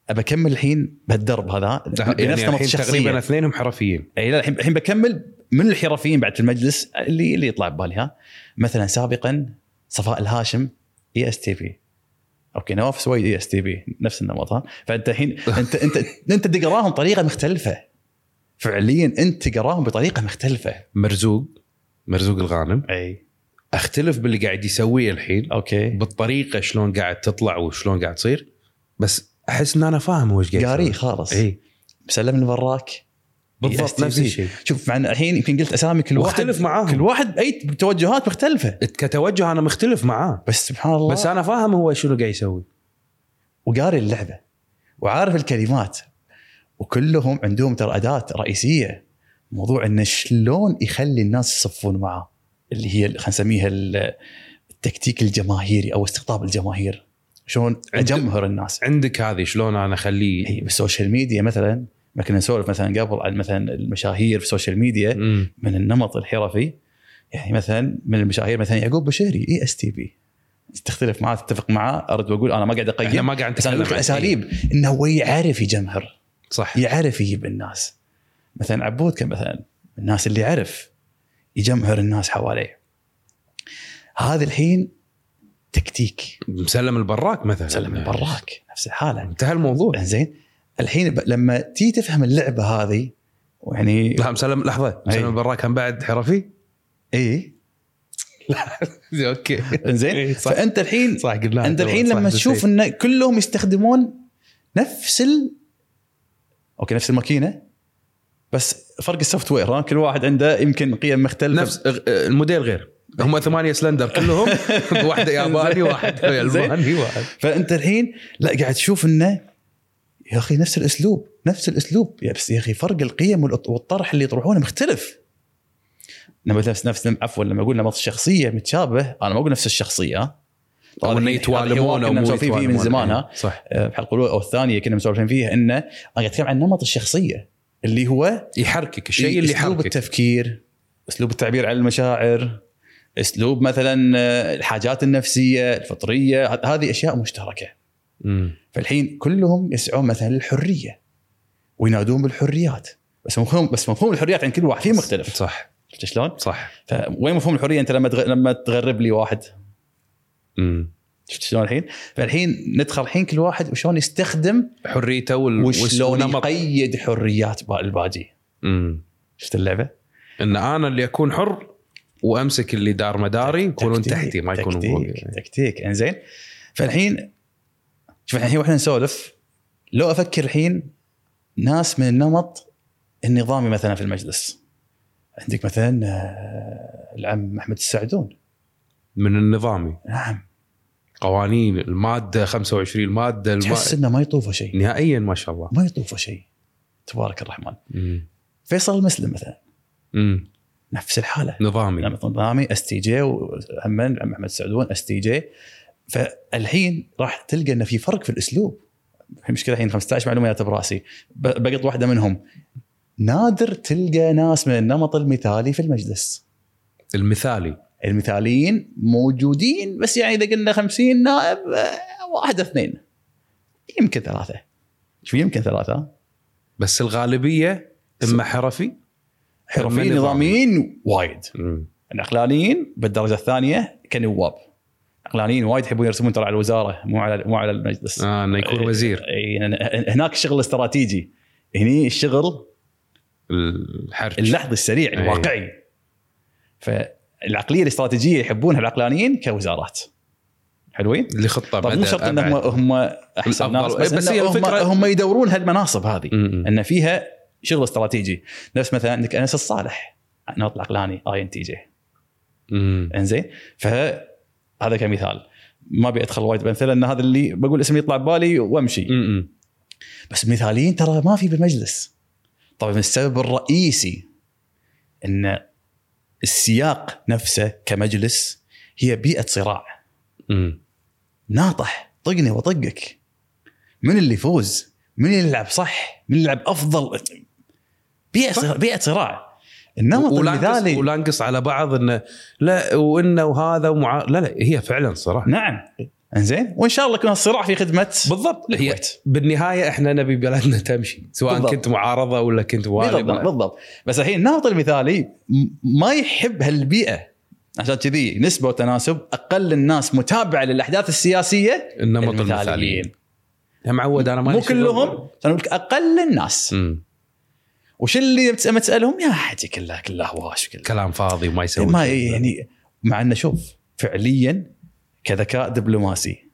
Speaker 2: ابى اكمل الحين بهالدرب هذا
Speaker 1: يعني الحين تقريبا اثنينهم حرفيين
Speaker 2: اي يعني لا الحين الحين بكمل من الحرفيين بعد في المجلس اللي اللي يطلع ببالي ها مثلا سابقا صفاء الهاشم E اي اس تي بي اوكي نواف E سويد اي اس تي بي نفس النمط ها فانت الحين انت انت انت تقراهم بطريقه مختلفه فعليا انت تقراهم بطريقه مختلفه
Speaker 1: مرزوق مرزوق الغانم
Speaker 2: اي
Speaker 1: اختلف باللي قاعد يسويه الحين
Speaker 2: اوكي
Speaker 1: بالطريقه شلون قاعد تطلع وشلون قاعد تصير بس احس ان انا فاهم وش قاعد
Speaker 2: قاري
Speaker 1: يسوي.
Speaker 2: خالص E
Speaker 1: اي
Speaker 2: مسلم البراك
Speaker 1: بالضبط
Speaker 2: ESTP.
Speaker 1: نفس الشيء
Speaker 2: شوف معنا الحين يمكن قلت اسامي كل واحد
Speaker 1: واختلف معاهم.
Speaker 2: كل واحد اي توجهات مختلفه
Speaker 1: كتوجه انا مختلف معاه
Speaker 2: بس سبحان الله
Speaker 1: بس انا فاهم هو شنو قاعد يسوي
Speaker 2: وقاري اللعبه وعارف الكلمات وكلهم عندهم ترى اداه رئيسيه موضوع انه شلون يخلي الناس يصفون معه اللي هي خلينا نسميها ال- التكتيك الجماهيري او استقطاب الجماهير شلون
Speaker 1: عند-
Speaker 2: اجمهر الناس
Speaker 1: عندك هذه شلون انا اخليه
Speaker 2: هي بالسوشيال ميديا مثلا ما كنا نسولف مثلا قبل عن مثلا المشاهير في السوشيال ميديا
Speaker 1: مم.
Speaker 2: من النمط الحرفي يعني مثلا من المشاهير مثلا يعقوب بشيري اي اس تي بي تختلف معاه تتفق معاه ارد واقول انا ما قاعد
Speaker 1: احنا
Speaker 2: اقيم
Speaker 1: ما قاعد
Speaker 2: بس انا
Speaker 1: نتكلم
Speaker 2: اقول لك
Speaker 1: عن- إيه.
Speaker 2: الاساليب انه هو يعرف يجمهر
Speaker 1: صح
Speaker 2: يعرف يجيب الناس مثلا عبود كان مثلا من الناس اللي يعرف يجمهر الناس حواليه هذا الحين تكتيك
Speaker 1: مسلم البراك مثلا
Speaker 2: سلم البراك نفس الحاله
Speaker 1: انتهى الموضوع
Speaker 2: زين الحين ب- لما تيجي تفهم اللعبه هذه يعني
Speaker 1: لا مسلم لحظه مسلم
Speaker 2: أي.
Speaker 1: البراك كان بعد حرفي
Speaker 2: اي
Speaker 1: اوكي
Speaker 2: زين
Speaker 1: إيه، صح.
Speaker 2: فانت الحين
Speaker 1: صح قلنا
Speaker 2: انت الحين لما تشوف ان كلهم يستخدمون نفس ال اوكي نفس الماكينه بس فرق السوفت وير ها كل واحد عنده يمكن قيم مختلفه
Speaker 1: نفس أغ- آه، الموديل غير
Speaker 2: إيه.
Speaker 1: هم ثمانيه سلندر كلهم واحده ياباني واحده
Speaker 2: زين.
Speaker 1: ياباني واحد
Speaker 2: فانت الحين لا قاعد تشوف انه يا اخي نفس الاسلوب نفس الاسلوب يا بس يا اخي فرق القيم والأط- والطرح اللي يطرحونه مختلف لما نفس نفس عفوا لما اقول نمط الشخصيه متشابه انا ما اقول نفس الشخصيه ها.
Speaker 1: او
Speaker 2: هذا
Speaker 1: انه
Speaker 2: حوار
Speaker 1: يتوالمون او مو
Speaker 2: كنا مسولفين فيه
Speaker 1: يتوالمون
Speaker 2: من زمان ها
Speaker 1: صح
Speaker 2: أه، الحلقه الاولى او الثانيه كنا مسولفين فيها انه انا قاعد اتكلم عن نمط الشخصيه اللي هو
Speaker 1: يحركك الشيء اللي
Speaker 2: اسلوب
Speaker 1: يحركك
Speaker 2: التفكير اسلوب التعبير عن المشاعر اسلوب مثلا أه، الحاجات النفسيه الفطريه ه- هذه اشياء مشتركه
Speaker 1: مم.
Speaker 2: فالحين كلهم يسعون مثلا للحريه وينادون بالحريات بس مفهوم بس مفهوم الحريات عند كل واحد فيه مختلف
Speaker 1: صح
Speaker 2: شفت شلون؟
Speaker 1: صح
Speaker 2: فوين مفهوم الحريه انت لما تغ... لما تغرب لي واحد
Speaker 1: مم.
Speaker 2: شفت شلون الحين؟ فالحين ندخل الحين كل واحد وشلون يستخدم
Speaker 1: حريته وال...
Speaker 2: وشلون
Speaker 1: والنمط.
Speaker 2: يقيد حريات با- الباجي
Speaker 1: مم.
Speaker 2: شفت اللعبه؟
Speaker 1: ان انا اللي اكون حر وامسك اللي دار مداري يكونون
Speaker 2: تكتيك-
Speaker 1: تحتي ما يكونون
Speaker 2: تكتيك
Speaker 1: فوقي
Speaker 2: تكتيك انزين فالحين شوف الحين واحنا نسولف لو افكر الحين ناس من النمط النظامي مثلا في المجلس عندك مثلا آه، العم احمد السعدون
Speaker 1: من النظامي
Speaker 2: نعم
Speaker 1: قوانين الماده 25 الماده الم...
Speaker 2: تحس انه ما يطوفه شيء
Speaker 1: نهائيا ما شاء الله
Speaker 2: ما يطوفه شيء تبارك الرحمن
Speaker 1: مم.
Speaker 2: فيصل المسلم مثلا
Speaker 1: مم.
Speaker 2: نفس الحاله
Speaker 1: نظامي
Speaker 2: نمط نظامي اس تي جي وهم العم احمد السعدون اس تي جي فالحين راح تلقى انه في فرق في الاسلوب المشكله الحين 15 معلومه جات براسي ب- بقط واحده منهم نادر تلقى ناس من النمط المثالي في المجلس
Speaker 1: المثالي
Speaker 2: المثاليين موجودين بس يعني اذا قلنا 50 نائب آه، واحد اثنين يمكن ثلاثه شو يمكن ثلاثه
Speaker 1: بس الغالبيه اما حرفي
Speaker 2: حرفيين نظاميين وايد
Speaker 1: مم.
Speaker 2: الاقلانيين بالدرجه الثانيه كنواب اقلانيين وايد يحبون يرسمون ترى على الوزاره مو على مو على المجلس
Speaker 1: آه انه
Speaker 2: إيه.
Speaker 1: يكون وزير
Speaker 2: إي، هن- هناك الشغل استراتيجي هني الشغل
Speaker 1: الحرج
Speaker 2: اللحظي السريع
Speaker 1: إي.
Speaker 2: الواقعي فالعقليه الاستراتيجيه يحبونها الاقلانيين كوزارات حلوين
Speaker 1: لخطه
Speaker 2: طب مو شرط ان هم هم احسن
Speaker 1: الأفضل.
Speaker 2: ناس بس,
Speaker 1: بس
Speaker 2: إن
Speaker 1: هي
Speaker 2: هم
Speaker 1: الفكرة-
Speaker 2: هم يدورون هالمناصب هذه
Speaker 1: مم.
Speaker 2: ان فيها شغل استراتيجي نفس مثلا عندك انس الصالح انا اطلق لاني اي ان تي جي
Speaker 1: مم.
Speaker 2: انزين فهذا كمثال ما ابي ادخل وايد بامثله لان هذا اللي بقول اسم يطلع ببالي وامشي
Speaker 1: مم.
Speaker 2: بس مثاليين ترى ما في بالمجلس طبعا السبب الرئيسي ان السياق نفسه كمجلس هي بيئه صراع إيه.
Speaker 1: مم.
Speaker 2: ناطح طقني وطقك من اللي يفوز من اللي يلعب صح من اللي يلعب افضل بيئه صراع بيئه صراع النمط
Speaker 1: ولانقص,
Speaker 2: المثالي
Speaker 1: ولانقص على بعض انه لا وانه وهذا ومع لا لا هي فعلا صراحه
Speaker 2: نعم انزين وان شاء الله يكون الصراع في خدمه
Speaker 1: بالضبط هي
Speaker 2: الكويت.
Speaker 1: بالنهايه احنا نبي بلدنا تمشي سواء
Speaker 2: بالضبط.
Speaker 1: بالضبط. كنت معارضه ولا كنت
Speaker 2: بالضبط
Speaker 1: والي
Speaker 2: بالضبط بس الحين النمط المثالي م- ما يحب هالبيئه عشان كذي نسبه وتناسب اقل الناس متابعه للاحداث السياسيه
Speaker 1: النمط
Speaker 2: المثاليين
Speaker 1: المثالي يا معود انا ما
Speaker 2: مو كلهم انا اقول لك اقل الناس وش اللي بتس- لما تسالهم يا حكي كلها كلها هواش كلها
Speaker 1: كلام فاضي وما يسوي
Speaker 2: ما
Speaker 1: شيء.
Speaker 2: يعني مع انه شوف فعليا كذكاء دبلوماسي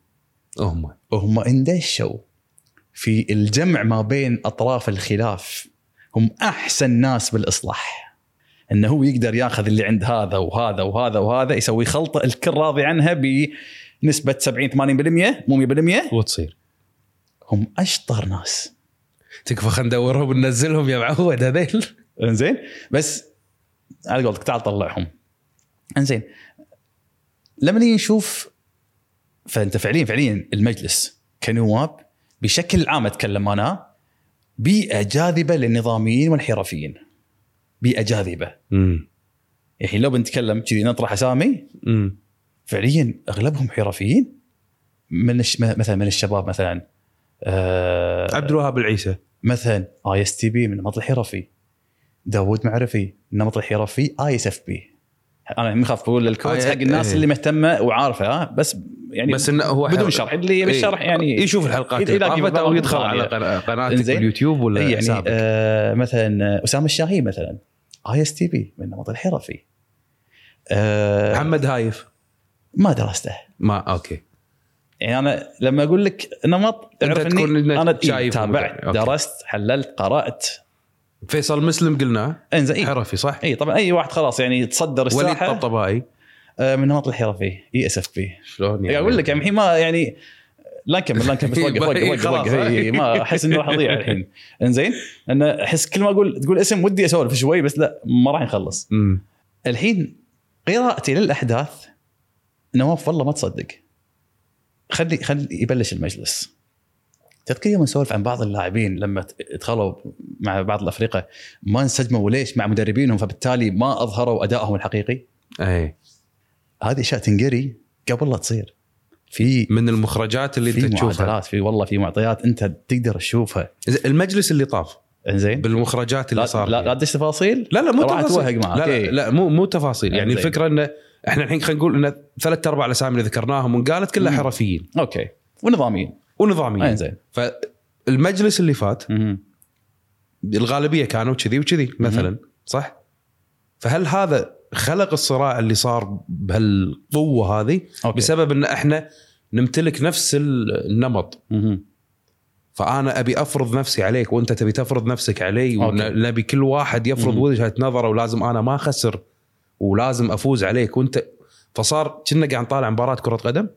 Speaker 1: هم
Speaker 2: هم اندشوا في الجمع ما بين اطراف الخلاف هم احسن ناس بالاصلاح انه هو يقدر ياخذ اللي عند هذا وهذا وهذا وهذا يسوي خلطه الكل راضي عنها بنسبه 70 80% مو 100%
Speaker 1: وتصير
Speaker 2: هم اشطر ناس
Speaker 1: تكفى خلينا ندورهم ننزلهم يا معود هذيل
Speaker 2: انزين بس على قولتك تعال طلعهم انزين لما نيجي نشوف فانت فعليا فعليا المجلس كنواب بشكل عام اتكلم انا بيئه جاذبه للنظاميين والحرفيين بيئه جاذبه
Speaker 1: مم.
Speaker 2: يعني لو بنتكلم كذي نطرح اسامي
Speaker 1: مم.
Speaker 2: فعليا اغلبهم حرفيين من الش... مثلا من الشباب مثلا آه،
Speaker 1: عبد الوهاب العيسى
Speaker 2: مثلا اي اس تي بي من النمط الحرفي داوود معرفي النمط الحرفي اي اس اف بي انا مخاف بقول الكودز
Speaker 1: آي-
Speaker 2: حق الناس
Speaker 1: إيه.
Speaker 2: اللي مهتمه وعارفه ها بس يعني
Speaker 1: بس انه هو إيه.
Speaker 2: بدون شرح اللي يبي الشرح يعني
Speaker 1: يشوف الحلقات
Speaker 2: يلاقي
Speaker 1: اللي طافت او
Speaker 2: مطالب
Speaker 1: يدخل على
Speaker 2: ثانية.
Speaker 1: قناة- قناتك
Speaker 2: يعني إنزين.
Speaker 1: باليوتيوب ولا
Speaker 2: إي يعني
Speaker 1: حسابك.
Speaker 2: آه مثلا اسامه الشاهي مثلا اي اس تي بي من النمط الحرفي آه
Speaker 1: محمد هايف
Speaker 2: ما دراسته
Speaker 1: ما اوكي
Speaker 2: يعني انا لما اقول لك نمط اعرف
Speaker 1: تكون
Speaker 2: اني انا
Speaker 1: إنك شايف
Speaker 2: تابعت
Speaker 1: أوكي.
Speaker 2: درست حللت إيه، قرات
Speaker 1: فيصل مسلم قلنا
Speaker 2: انزين إي.
Speaker 1: حرفي صح؟
Speaker 2: اي طبعا اي واحد خلاص يعني يتصدر
Speaker 1: وليد
Speaker 2: الساحه
Speaker 1: طبطبائي
Speaker 2: آه، من نمط E الحرفي اي اس اف بي
Speaker 1: شلون
Speaker 2: قاعد اقول لك يعني الحين ما يعني لا نكمل لا نكمل وقف وقف
Speaker 1: إي،
Speaker 2: وقف
Speaker 1: خلاص.
Speaker 2: وقف إي، ما احس اني راح اضيع الحين انزين ان احس كل ما اقول تقول اسم ودي اسولف شوي بس لا ما راح نخلص
Speaker 1: مم.
Speaker 2: الحين قراءتي للاحداث نواف والله ما تصدق خلي خلي يبلش المجلس تذكر يوم نسولف عن بعض اللاعبين لما ت- دخلوا مع بعض الافرقه ما انسجموا ليش مع مدربينهم فبالتالي ما اظهروا ادائهم الحقيقي
Speaker 1: اي
Speaker 2: هذه اشياء تنقري قبل لا تصير في
Speaker 1: من المخرجات اللي
Speaker 2: في
Speaker 1: انت تشوفها
Speaker 2: معادلات في والله في معطيات انت تقدر تشوفها
Speaker 1: زين، المجلس اللي طاف
Speaker 2: انزين
Speaker 1: بالمخرجات
Speaker 2: لا
Speaker 1: اللي صار
Speaker 2: لا
Speaker 1: فيها.
Speaker 2: لا تدش تفاصيل
Speaker 1: لا لا مو
Speaker 2: راح
Speaker 1: تفاصيل
Speaker 2: أتوهق معك.
Speaker 1: لا,
Speaker 2: إيه.
Speaker 1: لا, لا مو مو تفاصيل يعني
Speaker 2: زين.
Speaker 1: الفكره انه احنا الحين خلينا نقول ان ثلاث ارباع الاسامي اللي ذكرناهم وانقالت كلها
Speaker 2: مم.
Speaker 1: حرفيين
Speaker 2: اوكي ونظاميين
Speaker 1: ونظاميين
Speaker 2: انزين
Speaker 1: فالمجلس اللي فات
Speaker 2: مهم.
Speaker 1: الغالبيه كانوا كذي وكذي مثلا صح؟ فهل هذا خلق الصراع اللي صار بهالقوه هذه
Speaker 2: اوكي
Speaker 1: بسبب ان احنا نمتلك نفس النمط
Speaker 2: مهم.
Speaker 1: فانا ابي افرض نفسي عليك وانت تبي تفرض نفسك علي
Speaker 2: أوكي.
Speaker 1: ونبي كل واحد يفرض
Speaker 2: مم.
Speaker 1: وجهه نظره ولازم انا ما اخسر ولازم افوز عليك وانت فصار كنا قاعد نطالع مباراه كره قدم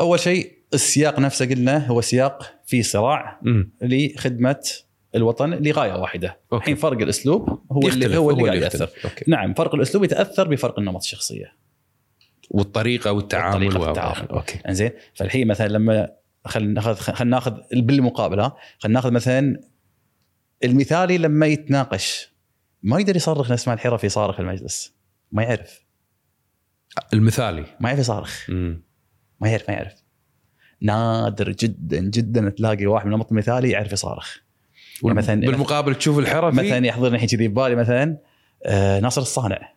Speaker 2: اول شيء السياق نفسه قلنا هو سياق في صراع
Speaker 1: امم
Speaker 2: لخدمه الوطن لغايه واحده الحين فرق الاسلوب هو اللي هو اللي قاعد ياثر
Speaker 1: أوكي.
Speaker 2: نعم فرق الاسلوب يتاثر بفرق النمط الشخصيه
Speaker 1: والطريقه والتعامل
Speaker 2: والطريقة في
Speaker 1: و-
Speaker 2: التعامل.
Speaker 1: اوكي
Speaker 2: انزين فالحين مثلا لما خلينا ناخذ خلينا ناخذ بالمقابل ها خلينا ناخذ مثلا المثالي لما يتناقش ما يقدر يصرخ نفس ما الحرفي صارخ في المجلس ما يعرف
Speaker 1: المثالي
Speaker 2: ما يعرف يصارخ
Speaker 1: امم
Speaker 2: ما يعرف ما يعرف نادر جدا جدا تلاقي واحد من النمط المثالي يعرف يصارخ يعني مثلا
Speaker 1: بالمقابل تشوف الحرفي
Speaker 2: مثلا يحضرني الحين كذي ببالي مثلا آه ناصر الصانع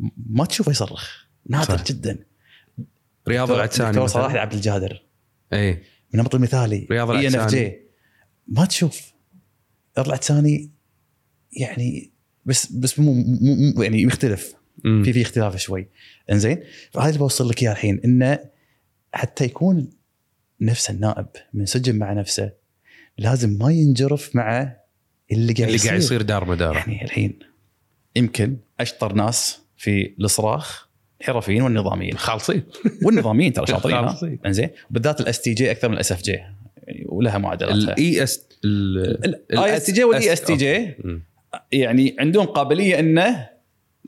Speaker 2: م- ما تشوفه يصرخ نادر
Speaker 1: صح.
Speaker 2: جدا
Speaker 1: رياض
Speaker 2: دكتور
Speaker 1: العدساني إيه.
Speaker 2: صلاح
Speaker 1: مثلا
Speaker 2: عبد الجادر
Speaker 1: اي
Speaker 2: من النمط المثالي
Speaker 1: رياض
Speaker 2: اي ان اف
Speaker 1: العدساني.
Speaker 2: جي ما تشوف اطلع ثاني يعني بس بس مو, مو مو- يعني يختلف
Speaker 1: أمم.
Speaker 2: في في اختلاف شوي انزين فهذا اللي بوصل لك اياه الحين انه حتى يكون نفس النائب منسجم مع نفسه لازم ما ينجرف مع
Speaker 1: اللي
Speaker 2: اللي قاعد
Speaker 1: قاعد
Speaker 2: يصير
Speaker 1: يصير دار مداره
Speaker 2: يعني الحين يمكن اشطر ناس في الصراخ الحرفيين والنظاميين
Speaker 1: خالصين
Speaker 2: والنظاميين ترى شاطرين ها؟
Speaker 1: خالصين.
Speaker 2: انزين بالذات الاس تي جي اكثر من الاس اف جي ولها معادلاتها
Speaker 1: الاي اس
Speaker 2: الاي اس تي جي والاي اس تي جي يعني عندهم قابليه انه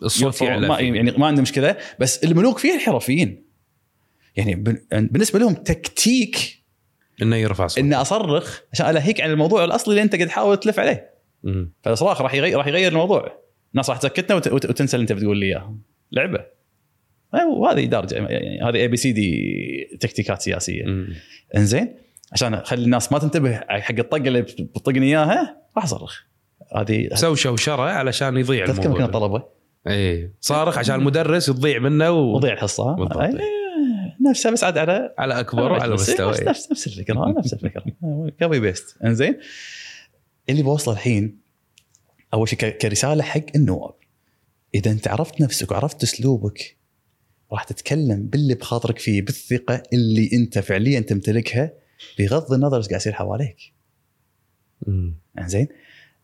Speaker 1: الصوت
Speaker 2: يرفعوا- ما
Speaker 1: يعلى
Speaker 2: يعني ما عندهم مشكله بس الملوك فيها الحرفيين يعني بن- بالنسبه لهم تكتيك
Speaker 1: انه يرفع صوت
Speaker 2: ان اصرخ عشان الهيك عن الموضوع الاصلي اللي انت قد تحاول تلف عليه
Speaker 1: مم.
Speaker 2: فالاصراخ راح يغير راح يغير الموضوع الناس راح تسكتنا وت- وت- وتنسى اللي انت بتقول لي اياه لعبه أي، وهذه درجه يعني هذه اي بي سي دي تكتيكات سياسيه
Speaker 1: مم.
Speaker 2: انزين عشان اخلي الناس ما تنتبه حق الطقه اللي بتطقني اياها راح اصرخ هذه
Speaker 1: سووا شوشره علشان يضيع
Speaker 2: تذكر كنا
Speaker 1: يعني الموضوع
Speaker 2: طلبه
Speaker 1: اي صارخ عشان المدرس تضيع منه و...
Speaker 2: وضيع الحصه ها؟
Speaker 1: بالضبط.
Speaker 2: أي، نفسها بس عاد على
Speaker 1: على اكبر وعلى
Speaker 2: نفس-
Speaker 1: مستوى إيه؟
Speaker 2: نفس نفس نفس الفكره ها، نفس الفكره كوبي بيست انزين اللي بوصله الحين اول شيء ك- كرساله حق النواب اذا انت عرفت نفسك وعرفت اسلوبك راح تتكلم باللي بخاطرك فيه بالثقه اللي انت فعليا تمتلكها بغض النظر ايش قاعد يصير حواليك
Speaker 1: مم.
Speaker 2: زين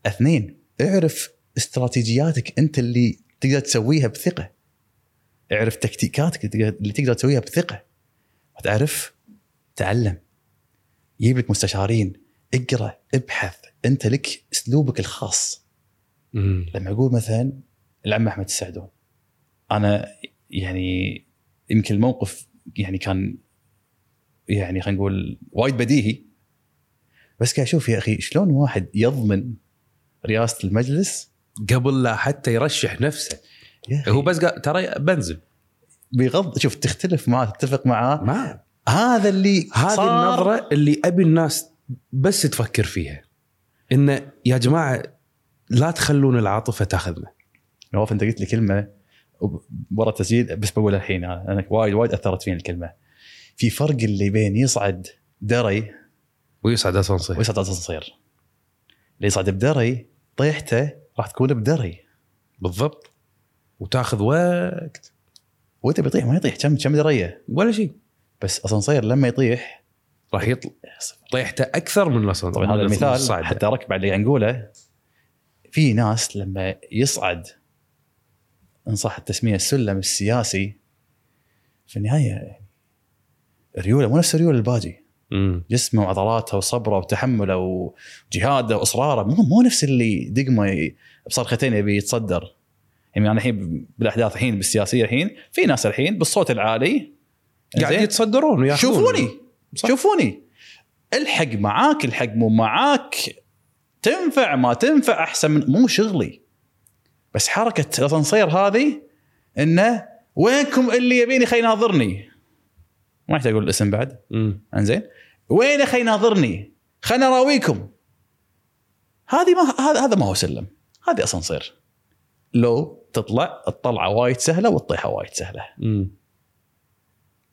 Speaker 2: اثنين اعرف استراتيجياتك انت اللي تقدر تسويها بثقه اعرف تكتيكاتك اللي تقدر- اللي تقدر تسويها بثقه تعرف تعلم جيب لك مستشارين اقرا ابحث انت لك اسلوبك الخاص
Speaker 1: مم.
Speaker 2: لما اقول مثلا العم احمد السعدون انا يعني يمكن الموقف يعني كان يعني خلينا نقول وايد بديهي بس قاعد اشوف يا اخي شلون واحد يضمن رئاسه المجلس
Speaker 1: قبل لا حتى يرشح نفسه
Speaker 2: يا أخي
Speaker 1: هو بس قال ترى بنزل
Speaker 2: بغض شوف تختلف معاه تتفق معاه
Speaker 1: ما
Speaker 2: هذا اللي
Speaker 1: هذه
Speaker 2: صار-
Speaker 1: النظره اللي ابي الناس بس تفكر فيها انه يا جماعه لا تخلون العاطفه تاخذنا
Speaker 2: نواف انت قلت لي كلمه وب- ورا التسجيل بس بقولها الحين انا أنا وايد وايد اثرت فيني الكلمه في فرق اللي بين يصعد دري
Speaker 1: ويصعد اسانسير
Speaker 2: ويصعد على الصصير اللي يصعد بدري طيحته راح تكون بدري
Speaker 1: بالضبط وتاخذ وقت
Speaker 2: وانت بيطيح ما يطيح كم كم دريه
Speaker 1: ولا شيء
Speaker 2: بس اسانسير لما يطيح
Speaker 1: راح يطلع طيحته اكثر من الاسانسير
Speaker 2: طبعا طيب، هذا
Speaker 1: من
Speaker 2: المثال
Speaker 1: الصعدة.
Speaker 2: حتى ركب على اللي قاعد نقوله في ناس لما يصعد ان صح التسميه السلم السياسي في النهايه ريوله مو نفس ريول الباجي
Speaker 1: مم.
Speaker 2: جسمه وعضلاته وصبره وتحمله وجهاده واصراره مو مو نفس اللي دقمه ي- بصرختين يبي يتصدر يعني انا الحين بالاحداث الحين بالسياسيه الحين في ناس الحين بالصوت العالي
Speaker 1: قاعد
Speaker 2: زين؟
Speaker 1: يتصدرون وياخذون.
Speaker 2: شوفوني
Speaker 1: صح.
Speaker 2: شوفوني الحق معاك الحق مو معاك تنفع ما تنفع احسن من مو شغلي بس حركه الاسانسير هذه انه وينكم اللي يبيني خلي يناظرني ما يحتاج اقول الاسم بعد
Speaker 1: مم.
Speaker 2: انزين وين يا اخي ناظرني خلنا اراويكم هذه ما هذا هذا ما هو سلم هذه اسانسير لو تطلع الطلعه وايد سهله والطيحه وايد سهله
Speaker 1: مم.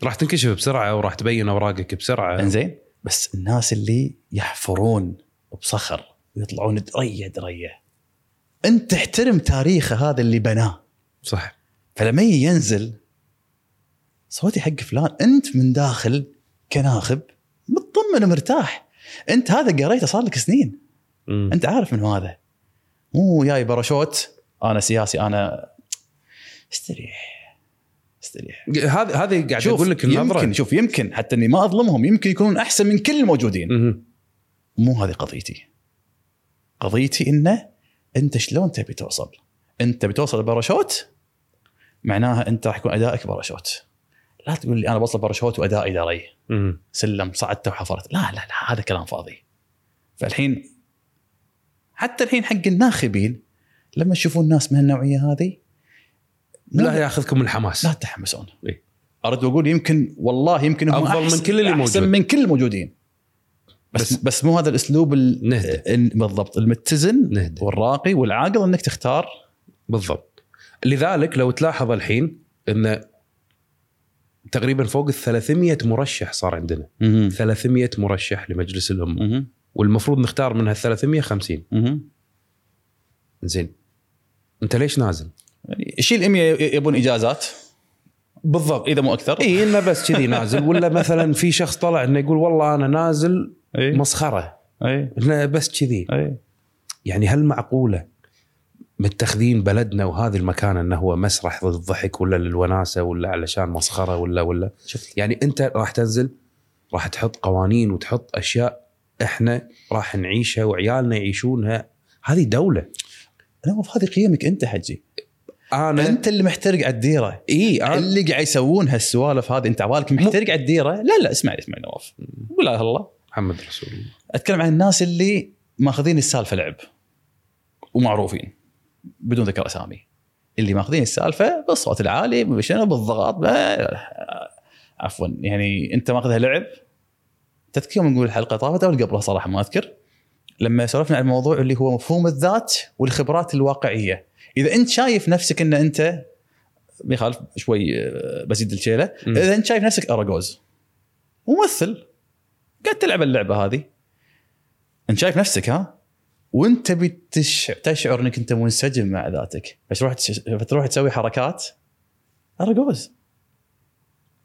Speaker 1: راح تنكشف بسرعه وراح تبين اوراقك بسرعه
Speaker 2: انزين بس الناس اللي يحفرون بصخر ويطلعون دريه دريه انت احترم تاريخه هذا اللي بناه
Speaker 1: صح
Speaker 2: فلما ينزل صوتي حق فلان انت من داخل كناخب مطمن ومرتاح انت هذا قريته صار لك سنين
Speaker 1: مم.
Speaker 2: انت عارف من هو هذا مو جاي برشوت انا سياسي انا استريح استريح
Speaker 1: هذه هذه قاعد
Speaker 2: شوف
Speaker 1: اقول لك النظره
Speaker 2: يمكن شوف يمكن حتى اني ما اظلمهم يمكن يكونون احسن من كل الموجودين
Speaker 1: مم.
Speaker 2: مو هذه قضيتي قضيتي انه انت شلون تبي توصل انت بتوصل برشوت معناها انت راح يكون ادائك برشوت لا تقول لي انا بوصل برشوت وادائي دري
Speaker 1: مم.
Speaker 2: سلم صعدته وحفرت لا لا لا هذا كلام فاضي فالحين حتى الحين حق الناخبين لما يشوفون الناس من النوعيه هذه
Speaker 1: لا
Speaker 2: لا
Speaker 1: ياخذكم الحماس
Speaker 2: لا تتحمسون
Speaker 1: إيه.
Speaker 2: ارد واقول يمكن والله يمكن هم
Speaker 1: أفضل من
Speaker 2: أحسن-
Speaker 1: كل اللي
Speaker 2: احسن
Speaker 1: موجود.
Speaker 2: من كل الموجودين بس
Speaker 1: بس-
Speaker 2: بس, بس مو هذا الاسلوب ال-
Speaker 1: نهدى.
Speaker 2: ال- بالضبط المتزن
Speaker 1: نهدى.
Speaker 2: والراقي والعاقل انك تختار
Speaker 1: بالضبط لذلك لو تلاحظ الحين ان تقريبا فوق ال 300 مرشح صار عندنا 300 مرشح لمجلس الامه
Speaker 2: مهم.
Speaker 1: والمفروض نختار من هال 350
Speaker 2: مهم.
Speaker 1: زين انت ليش نازل؟
Speaker 2: يعني شيل 100 يبون اجازات
Speaker 1: بالضبط
Speaker 2: اذا مو اكثر
Speaker 1: اي انه بس كذي نازل ولا مثلا في شخص طلع انه يقول والله انا نازل
Speaker 2: اي
Speaker 1: مسخره
Speaker 2: اي
Speaker 1: انه بس كذي
Speaker 2: اي
Speaker 1: يعني هل معقوله متخذين بلدنا وهذه المكانه انه هو مسرح للضحك ولا للوناسه ولا علشان مسخره ولا ولا
Speaker 2: شفت
Speaker 1: يعني انت راح تنزل راح تحط قوانين وتحط اشياء احنا راح نعيشها وعيالنا يعيشونها هذه دوله
Speaker 2: انا مو هذه قيمك انت حجي
Speaker 1: انا
Speaker 2: انت اللي محترق على الديره
Speaker 1: اي انا
Speaker 2: اللي قاعد يسوون هالسوالف هذه انت عبالك محترق على الديره لا لا اسمعني اسمعني نواف ولا الله
Speaker 1: محمد رسول الله
Speaker 2: اتكلم عن الناس اللي ماخذين السالفه لعب ومعروفين بدون ذكر اسامي اللي ماخذين السالفه بالصوت العالي شنو بالضغط لا- عفوا يعني انت ماخذها لعب تذكر يوم نقول الحلقه طافت او اللي قبلها صراحه ما اذكر لما سولفنا عن الموضوع اللي هو مفهوم الذات والخبرات الواقعيه اذا انت شايف نفسك ان انت بيخالف شوي آه، بزيد الشيله
Speaker 1: مم.
Speaker 2: اذا انت شايف نفسك اراجوز ممثل قاعد تلعب اللعبه هذه انت شايف نفسك ها وانت بتش... تشعر انك انت منسجم مع ذاتك فتروح تش... فتروح تسوي حركات ارجوز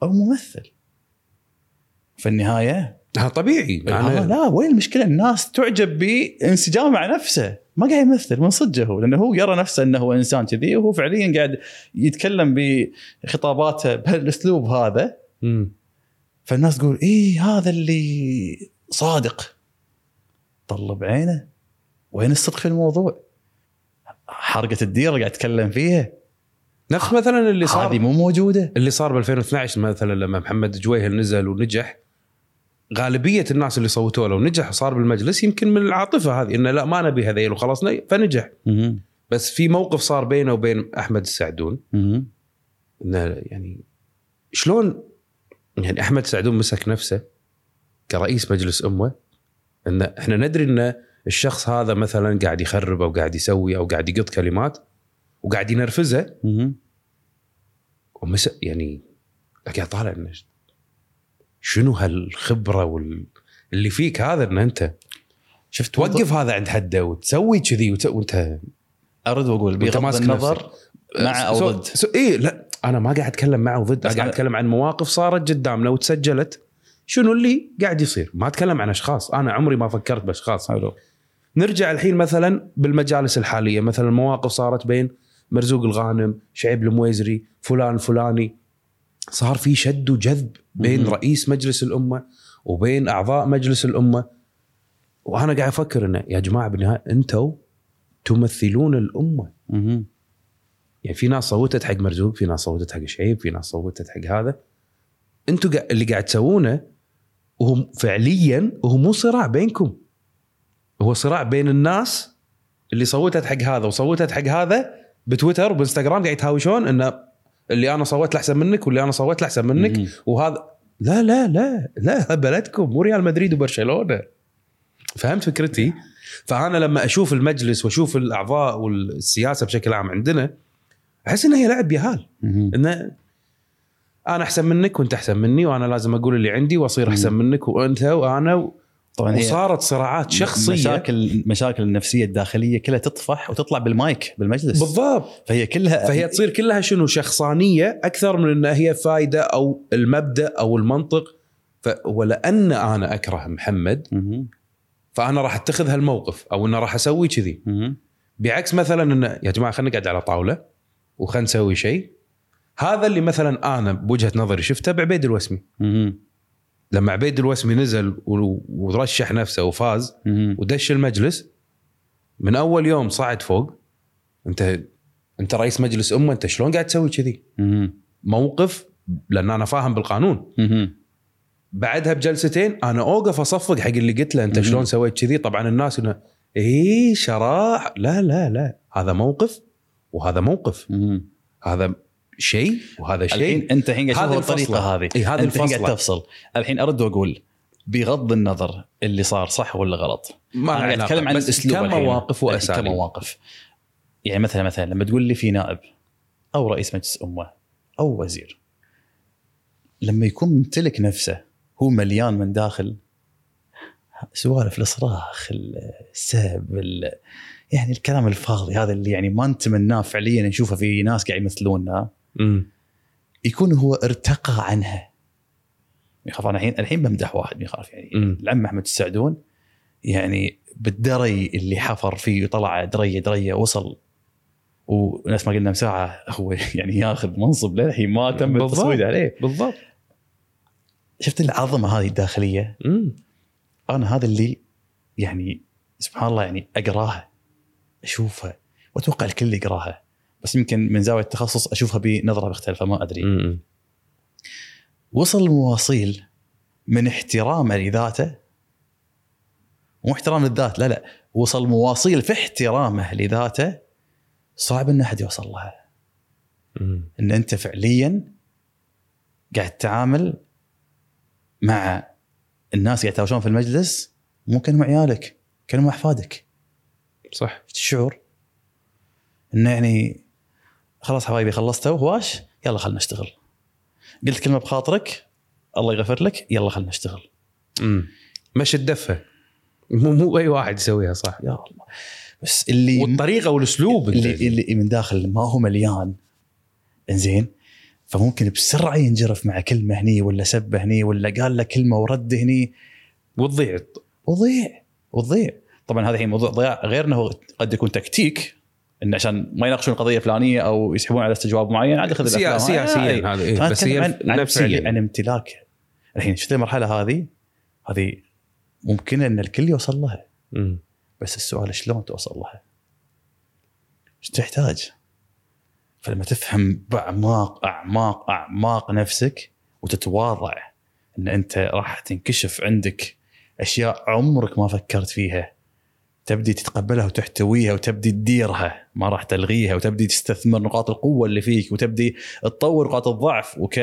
Speaker 2: او ممثل في النهايه
Speaker 1: آه، طبيعي
Speaker 2: آه
Speaker 1: انا
Speaker 2: لا وين المشكله الناس تعجب بانسجامه مع نفسه ما قاعد يمثل من صدقه هو لانه هو يرى نفسه انه هو انسان كذي وهو فعليا قاعد يتكلم بخطاباته بهالاسلوب هذا
Speaker 1: مم.
Speaker 2: فالناس تقول ايه هذا اللي صادق طلب عينه وين الصدق في الموضوع حرقه الديره قاعد اتكلم فيها
Speaker 1: نفس مثلا اللي صار
Speaker 2: هذه مو موجوده
Speaker 1: اللي صار ب 2012 مثلا لما محمد جويهل نزل ونجح غالبيه الناس اللي صوتوا له ونجح وصار بالمجلس يمكن من العاطفه هذه انه لا ما نبي هذيل وخلاص ن- فنجح بس في موقف صار بينه وبين احمد السعدون انه يعني شلون يعني احمد السعدون مسك نفسه كرئيس مجلس امه ان احنا ندري ان الشخص هذا مثلا قاعد يخرب او قاعد يسوي او قاعد يقط كلمات وقاعد ينرفزه ومس يعني قاعد طالع انه ش- شنو هالخبره وال... اللي فيك هذا ان انت
Speaker 2: شفت
Speaker 1: توقف هذا عند حده وتسوي كذي وت... وانت
Speaker 2: ارد واقول
Speaker 1: وأنت
Speaker 2: بغض
Speaker 1: ماسك
Speaker 2: النظر مع او
Speaker 1: سو-
Speaker 2: ضد
Speaker 1: سو... اي إيه، لا انا ما قاعد اتكلم معه ضد
Speaker 2: بس
Speaker 1: انا قاعد
Speaker 2: أنا-
Speaker 1: اتكلم عن مواقف صارت قدامنا وتسجلت شنو اللي قاعد يصير ما اتكلم عن اشخاص انا عمري ما فكرت باشخاص
Speaker 2: حلو
Speaker 1: نرجع الحين مثلا بالمجالس الحاليه مثلا مواقف صارت بين مرزوق الغانم شعيب المويزري فلان فلاني صار في شد وجذب بين
Speaker 2: مم.
Speaker 1: مم. رئيس مجلس الامه وبين اعضاء مجلس الامه وانا قاعد افكر انه يا جماعه بالنهايه انتم تمثلون الامه يعني في ناس صوتت حق مرزوق في ناس صوتت حق شعيب في ناس صوتت حق هذا انتم قا- اللي قاعد تسوونه وهم فعليا وهو مو صراع بينكم هو صراع بين الناس اللي صوتت حق هذا وصوتت حق هذا بتويتر وبانستغرام قاعد يتهاوشون انه اللي انا صوت له احسن منك واللي انا صوت له احسن منك وهذا لا لا لا لا بلدكم مو ريال مدريد وبرشلونه فهمت فكرتي؟ فانا لما اشوف المجلس واشوف الاعضاء والسياسه بشكل عام عندنا احس انها هي لعب يهال انه انا احسن منك وانت احسن مني وانا لازم اقول اللي عندي واصير احسن
Speaker 2: مم.
Speaker 1: منك وانت وانا و...
Speaker 2: طبعا هي
Speaker 1: وصارت صراعات شخصيه
Speaker 2: مشاكل المشاكل النفسيه الداخليه كلها تطفح وتطلع بالمايك بالمجلس
Speaker 1: بالضبط
Speaker 2: فهي كلها
Speaker 1: فهي تصير كلها شنو شخصانيه اكثر من انها هي فائده او المبدا او المنطق ف... ولان انا اكره محمد
Speaker 2: مهم.
Speaker 1: فانا راح اتخذ هالموقف او انه راح اسوي كذي
Speaker 2: مهم.
Speaker 1: بعكس مثلا انه يا جماعه خلينا نقعد على طاوله وخلينا نسوي شيء هذا اللي مثلا انا بوجهه نظري شفته بعبيد الوسمي
Speaker 2: مهم.
Speaker 1: لما عبيد الوسمي نزل و- ورشح نفسه وفاز
Speaker 2: مهم.
Speaker 1: ودش المجلس من اول يوم صعد فوق انت انت رئيس مجلس امه انت شلون قاعد تسوي كذي؟
Speaker 2: مهم.
Speaker 1: موقف لان انا فاهم بالقانون
Speaker 2: مهم.
Speaker 1: بعدها بجلستين انا اوقف اصفق حق اللي قلت له انت
Speaker 2: مهم.
Speaker 1: شلون سويت كذي؟ طبعا الناس انه اي شراح لا لا لا هذا موقف وهذا موقف
Speaker 2: مهم.
Speaker 1: هذا شيء وهذا
Speaker 2: الحين
Speaker 1: شيء
Speaker 2: انت الحين قاعد
Speaker 1: هذه
Speaker 2: تشوف الطريقه
Speaker 1: الفصلة.
Speaker 2: هذه
Speaker 1: اي هذا
Speaker 2: انت الحين قاعد
Speaker 1: الفصل
Speaker 2: تفصل الحين ارد واقول بغض النظر اللي صار صح ولا غلط
Speaker 1: ما
Speaker 2: انا قاعد
Speaker 1: علاقة.
Speaker 2: اتكلم عن
Speaker 1: آه، بس
Speaker 2: الاسلوب الحين.
Speaker 1: كمواقف واساليب
Speaker 2: كمواقف يعني مثلا مثلا لما تقول لي في نائب او رئيس مجلس امه او وزير لما يكون ممتلك نفسه هو مليان من داخل سوالف الصراخ السب ال- يعني الكلام الفاضي هذا اللي يعني ما نتمناه فعليا نشوفه في ناس قاعد يمثلوننا
Speaker 1: امم
Speaker 2: يكون هو ارتقى عنها يخاف انا الحين الحين بمدح واحد ما يخاف يعني
Speaker 1: أمم.
Speaker 2: العم احمد السعدون يعني بالدري اللي حفر فيه وطلع دريه دريه وصل ونفس ما قلنا مساعه هو يعني ياخذ منصب للحين ما تم
Speaker 1: بالضبط.
Speaker 2: التصويت عليه
Speaker 1: بالضبط
Speaker 2: شفت العظمه هذه الداخليه
Speaker 1: مم.
Speaker 2: انا هذا اللي يعني سبحان الله يعني اقراها اشوفها واتوقع الكل يقراها بس يمكن من زاويه التخصص اشوفها بنظره مختلفه ما ادري
Speaker 1: مم.
Speaker 2: وصل مواصيل من احترامه لذاته مو احترام للذات لا لا وصل مواصيل في احترامه لذاته صعب ان احد يوصل لها
Speaker 1: مم.
Speaker 2: ان انت فعليا قاعد تتعامل مع الناس قاعد يتهاوشون في المجلس مو كانوا مع عيالك كانوا مع احفادك
Speaker 1: صح
Speaker 2: شفت الشعور انه يعني خلاص حبايبي خلصتوا هواش يلا خلنا نشتغل قلت كلمه بخاطرك الله يغفر لك يلا خلنا نشتغل
Speaker 1: مم. مشي الدفه مو مو اي واحد يسويها صح
Speaker 2: يا الله بس اللي
Speaker 1: والطريقه والاسلوب
Speaker 2: اللي, اللي من داخل ما هو مليان انزين فممكن بسرعه ينجرف مع كلمه هني ولا سبه هني ولا قال له كلمه ورد هني
Speaker 1: وتضيع
Speaker 2: وضيع وضيع طبعا هذا الحين موضوع ضياع غير انه قد يكون تكتيك ان عشان ما يناقشون قضيه فلانيه او يسحبون على استجواب معين عادي خذ
Speaker 1: سيا-
Speaker 2: الأفلام. آه،
Speaker 1: سياسيا
Speaker 2: إيه.
Speaker 1: هذا إيه،
Speaker 2: فأنا
Speaker 1: بس
Speaker 2: أتكلم
Speaker 1: هي
Speaker 2: عن- عن فعليا
Speaker 1: نفسيا
Speaker 2: عن امتلاكه الحين شفت المرحله هذه هذه ممكن ان الكل يوصل لها
Speaker 1: مم.
Speaker 2: بس السؤال شلون توصل لها؟ ايش تحتاج؟ فلما تفهم باعماق اعماق اعماق نفسك وتتواضع ان انت راح تنكشف عندك اشياء عمرك ما فكرت فيها تبدي تتقبلها وتحتويها وتبدي تديرها ما راح تلغيها وتبدي تستثمر نقاط القوه اللي فيك وتبدي تطور نقاط الضعف وك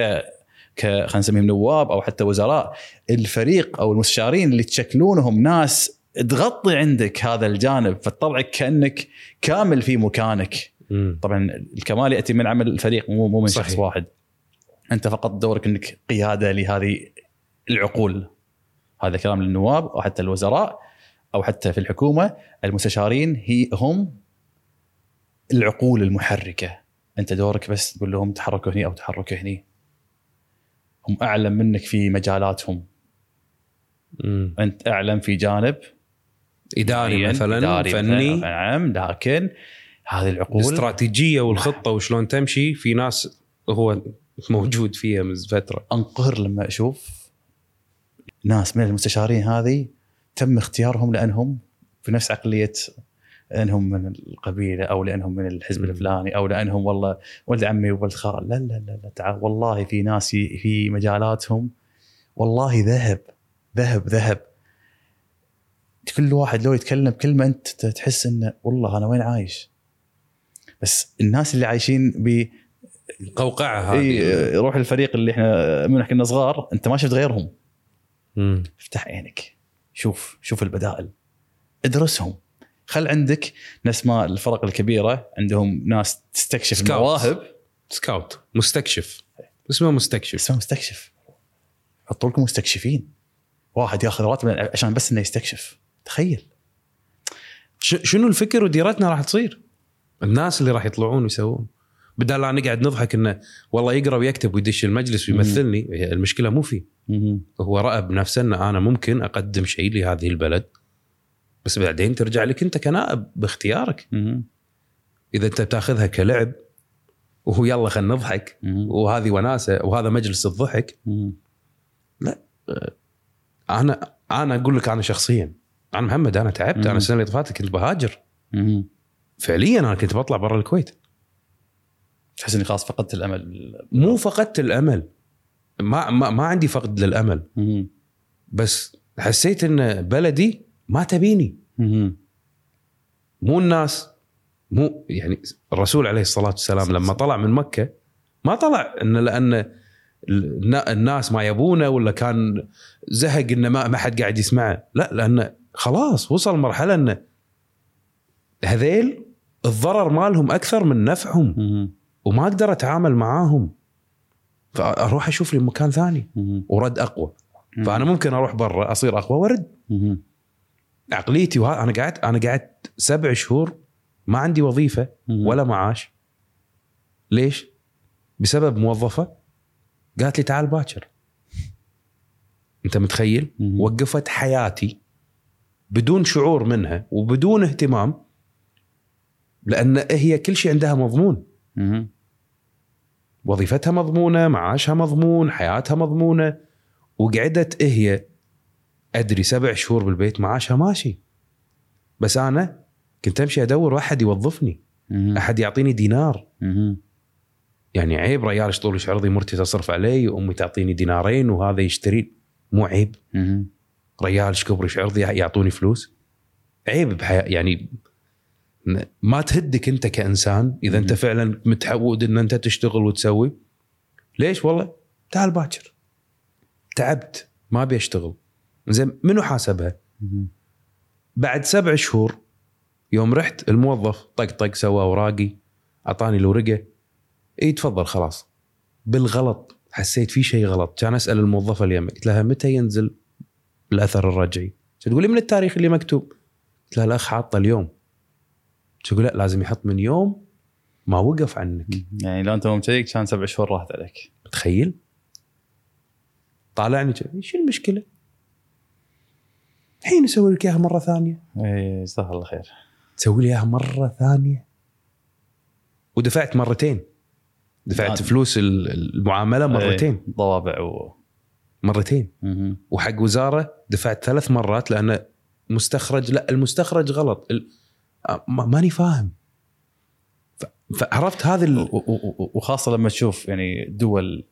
Speaker 2: ك خلينا نسميهم نواب او حتى وزراء الفريق او المستشارين اللي تشكلونهم ناس تغطي عندك هذا الجانب فتطلعك كانك كامل في مكانك
Speaker 1: مم.
Speaker 2: طبعا الكمال ياتي من عمل الفريق مو مو من
Speaker 1: صحيح.
Speaker 2: شخص واحد انت فقط دورك انك قياده لهذه العقول هذا كلام للنواب او حتى الوزراء او حتى في الحكومه المستشارين هي هم العقول المحركه انت دورك بس تقول لهم تحركوا هني او تحركوا هني هم اعلم منك في مجالاتهم
Speaker 1: مم.
Speaker 2: انت اعلم في جانب
Speaker 1: اداري
Speaker 2: معين،
Speaker 1: مثلا
Speaker 2: إداري مثلاً،
Speaker 1: فني
Speaker 2: نعم لكن هذه العقول
Speaker 1: الاستراتيجيه والخطه وشلون تمشي في ناس هو موجود فيها من فتره
Speaker 2: انقهر لما اشوف ناس من المستشارين هذه تم اختيارهم لانهم في نفس عقليه انهم من القبيله او لانهم من الحزب
Speaker 1: مم.
Speaker 2: الفلاني او لانهم والله ولد عمي وولد خال لا لا لا, لا تعال والله في ناس ي- في مجالاتهم والله ذهب ذهب ذهب كل واحد لو يتكلم كلمه انت ت- تحس انه والله انا وين عايش بس الناس اللي عايشين ب
Speaker 1: القوقعه هذه
Speaker 2: اي إيه، روح الفريق اللي احنا من كنا صغار انت ما شفت غيرهم
Speaker 1: مم.
Speaker 2: افتح عينك شوف شوف البدائل ادرسهم خل عندك نفس ما الفرق الكبيره عندهم ناس تستكشف
Speaker 1: Scouts.
Speaker 2: المواهب
Speaker 1: سكاوت مستكشف اسمه مستكشف
Speaker 2: اسمه مستكشف حطوا لكم مستكشفين واحد ياخذ راتب عشان بس انه يستكشف تخيل
Speaker 1: ش- شنو الفكر وديرتنا راح تصير الناس اللي راح يطلعون ويسوون بدل لا نقعد نضحك انه والله يقرا ويكتب ويدش المجلس ويمثلني هي المشكله مو فيه هو راى بنفسه ان انا ممكن اقدم شيء لهذه البلد بس بعدين ترجع لك انت كنائب باختيارك اذا انت بتاخذها كلعب وهو يلا خلينا نضحك وهذه وناسه وهذا مجلس الضحك انا انا اقول لك انا شخصيا انا محمد انا تعبت انا
Speaker 2: مم.
Speaker 1: السنه اللي طافت كنت بهاجر فعليا انا كنت بطلع برا الكويت
Speaker 2: تحس اني خلاص فقدت الامل
Speaker 1: مو فقدت الامل ما ما, ما عندي فقد للامل بس حسيت ان بلدي ما تبيني مو الناس مو يعني الرسول عليه الصلاه والسلام لما طلع من مكه ما طلع انه لان النا- الناس ما يبونه ولا كان زهق انه ما ما حد قاعد يسمعه لا لانه خلاص وصل مرحله انه هذيل الضرر مالهم اكثر من نفعهم وما اقدر اتعامل معاهم فاروح اشوف لي مكان ثاني ورد اقوى فانا ممكن اروح برا اصير اقوى وارد عقليتي وه... انا قعدت انا قعدت سبع شهور ما عندي وظيفه ولا معاش ليش؟ بسبب موظفه قالت لي تعال باكر انت متخيل؟ وقفت حياتي بدون شعور منها وبدون اهتمام لان هي كل شيء عندها مضمون
Speaker 2: مهم.
Speaker 1: وظيفتها مضمونه معاشها مضمون حياتها مضمونه وقعدت هي ادري سبع شهور بالبيت معاشها ماشي بس انا كنت امشي ادور واحد يوظفني
Speaker 2: مهم.
Speaker 1: احد يعطيني دينار
Speaker 2: مهم.
Speaker 1: يعني عيب ريال يشطول يش عرضي مرتي تصرف علي وامي تعطيني دينارين وهذا يشتري مو عيب
Speaker 2: مهم.
Speaker 1: ريال ايش كبر ايش عرضي يعطوني فلوس عيب بحياة يعني ن- ما تهدك انت كانسان اذا انت
Speaker 2: مم.
Speaker 1: فعلا متعود ان انت تشتغل وتسوي ليش والله تعال باكر تعبت ما ابي اشتغل زين منو حاسبها
Speaker 2: مهم.
Speaker 1: بعد سبع شهور يوم رحت الموظف طقطق سوى اوراقي اعطاني الورقه اي تفضل خلاص بالغلط حسيت في شيء غلط كان اسال الموظفه اللي يمي قلت لها متى ينزل الاثر الرجعي تقول لي من التاريخ اللي مكتوب قلت لها الاخ حاطه اليوم تقول لا لازم يحط من يوم ما وقف عنك
Speaker 2: يعني لو انت مو مشيك كان سبع شهور راحت عليك
Speaker 1: تخيل طالعني كذي، شو المشكله الحين اسوي لك اياها مره ثانيه
Speaker 2: اي جزاه الله خير
Speaker 1: تسوي لي اياها مره ثانيه ودفعت مرتين دفعت
Speaker 2: عادي.
Speaker 1: فلوس ال-
Speaker 2: إيه.
Speaker 1: المعامله مرتين
Speaker 2: إي، ضوابع و
Speaker 1: مرتين
Speaker 2: مهم.
Speaker 1: وحق وزاره دفعت ثلاث مرات لان مستخرج لا المستخرج غلط ال... أ- ما- ماني فاهم ف... فعرفت هذا ال...
Speaker 2: و- و- و- وخاصه لما تشوف يعني دول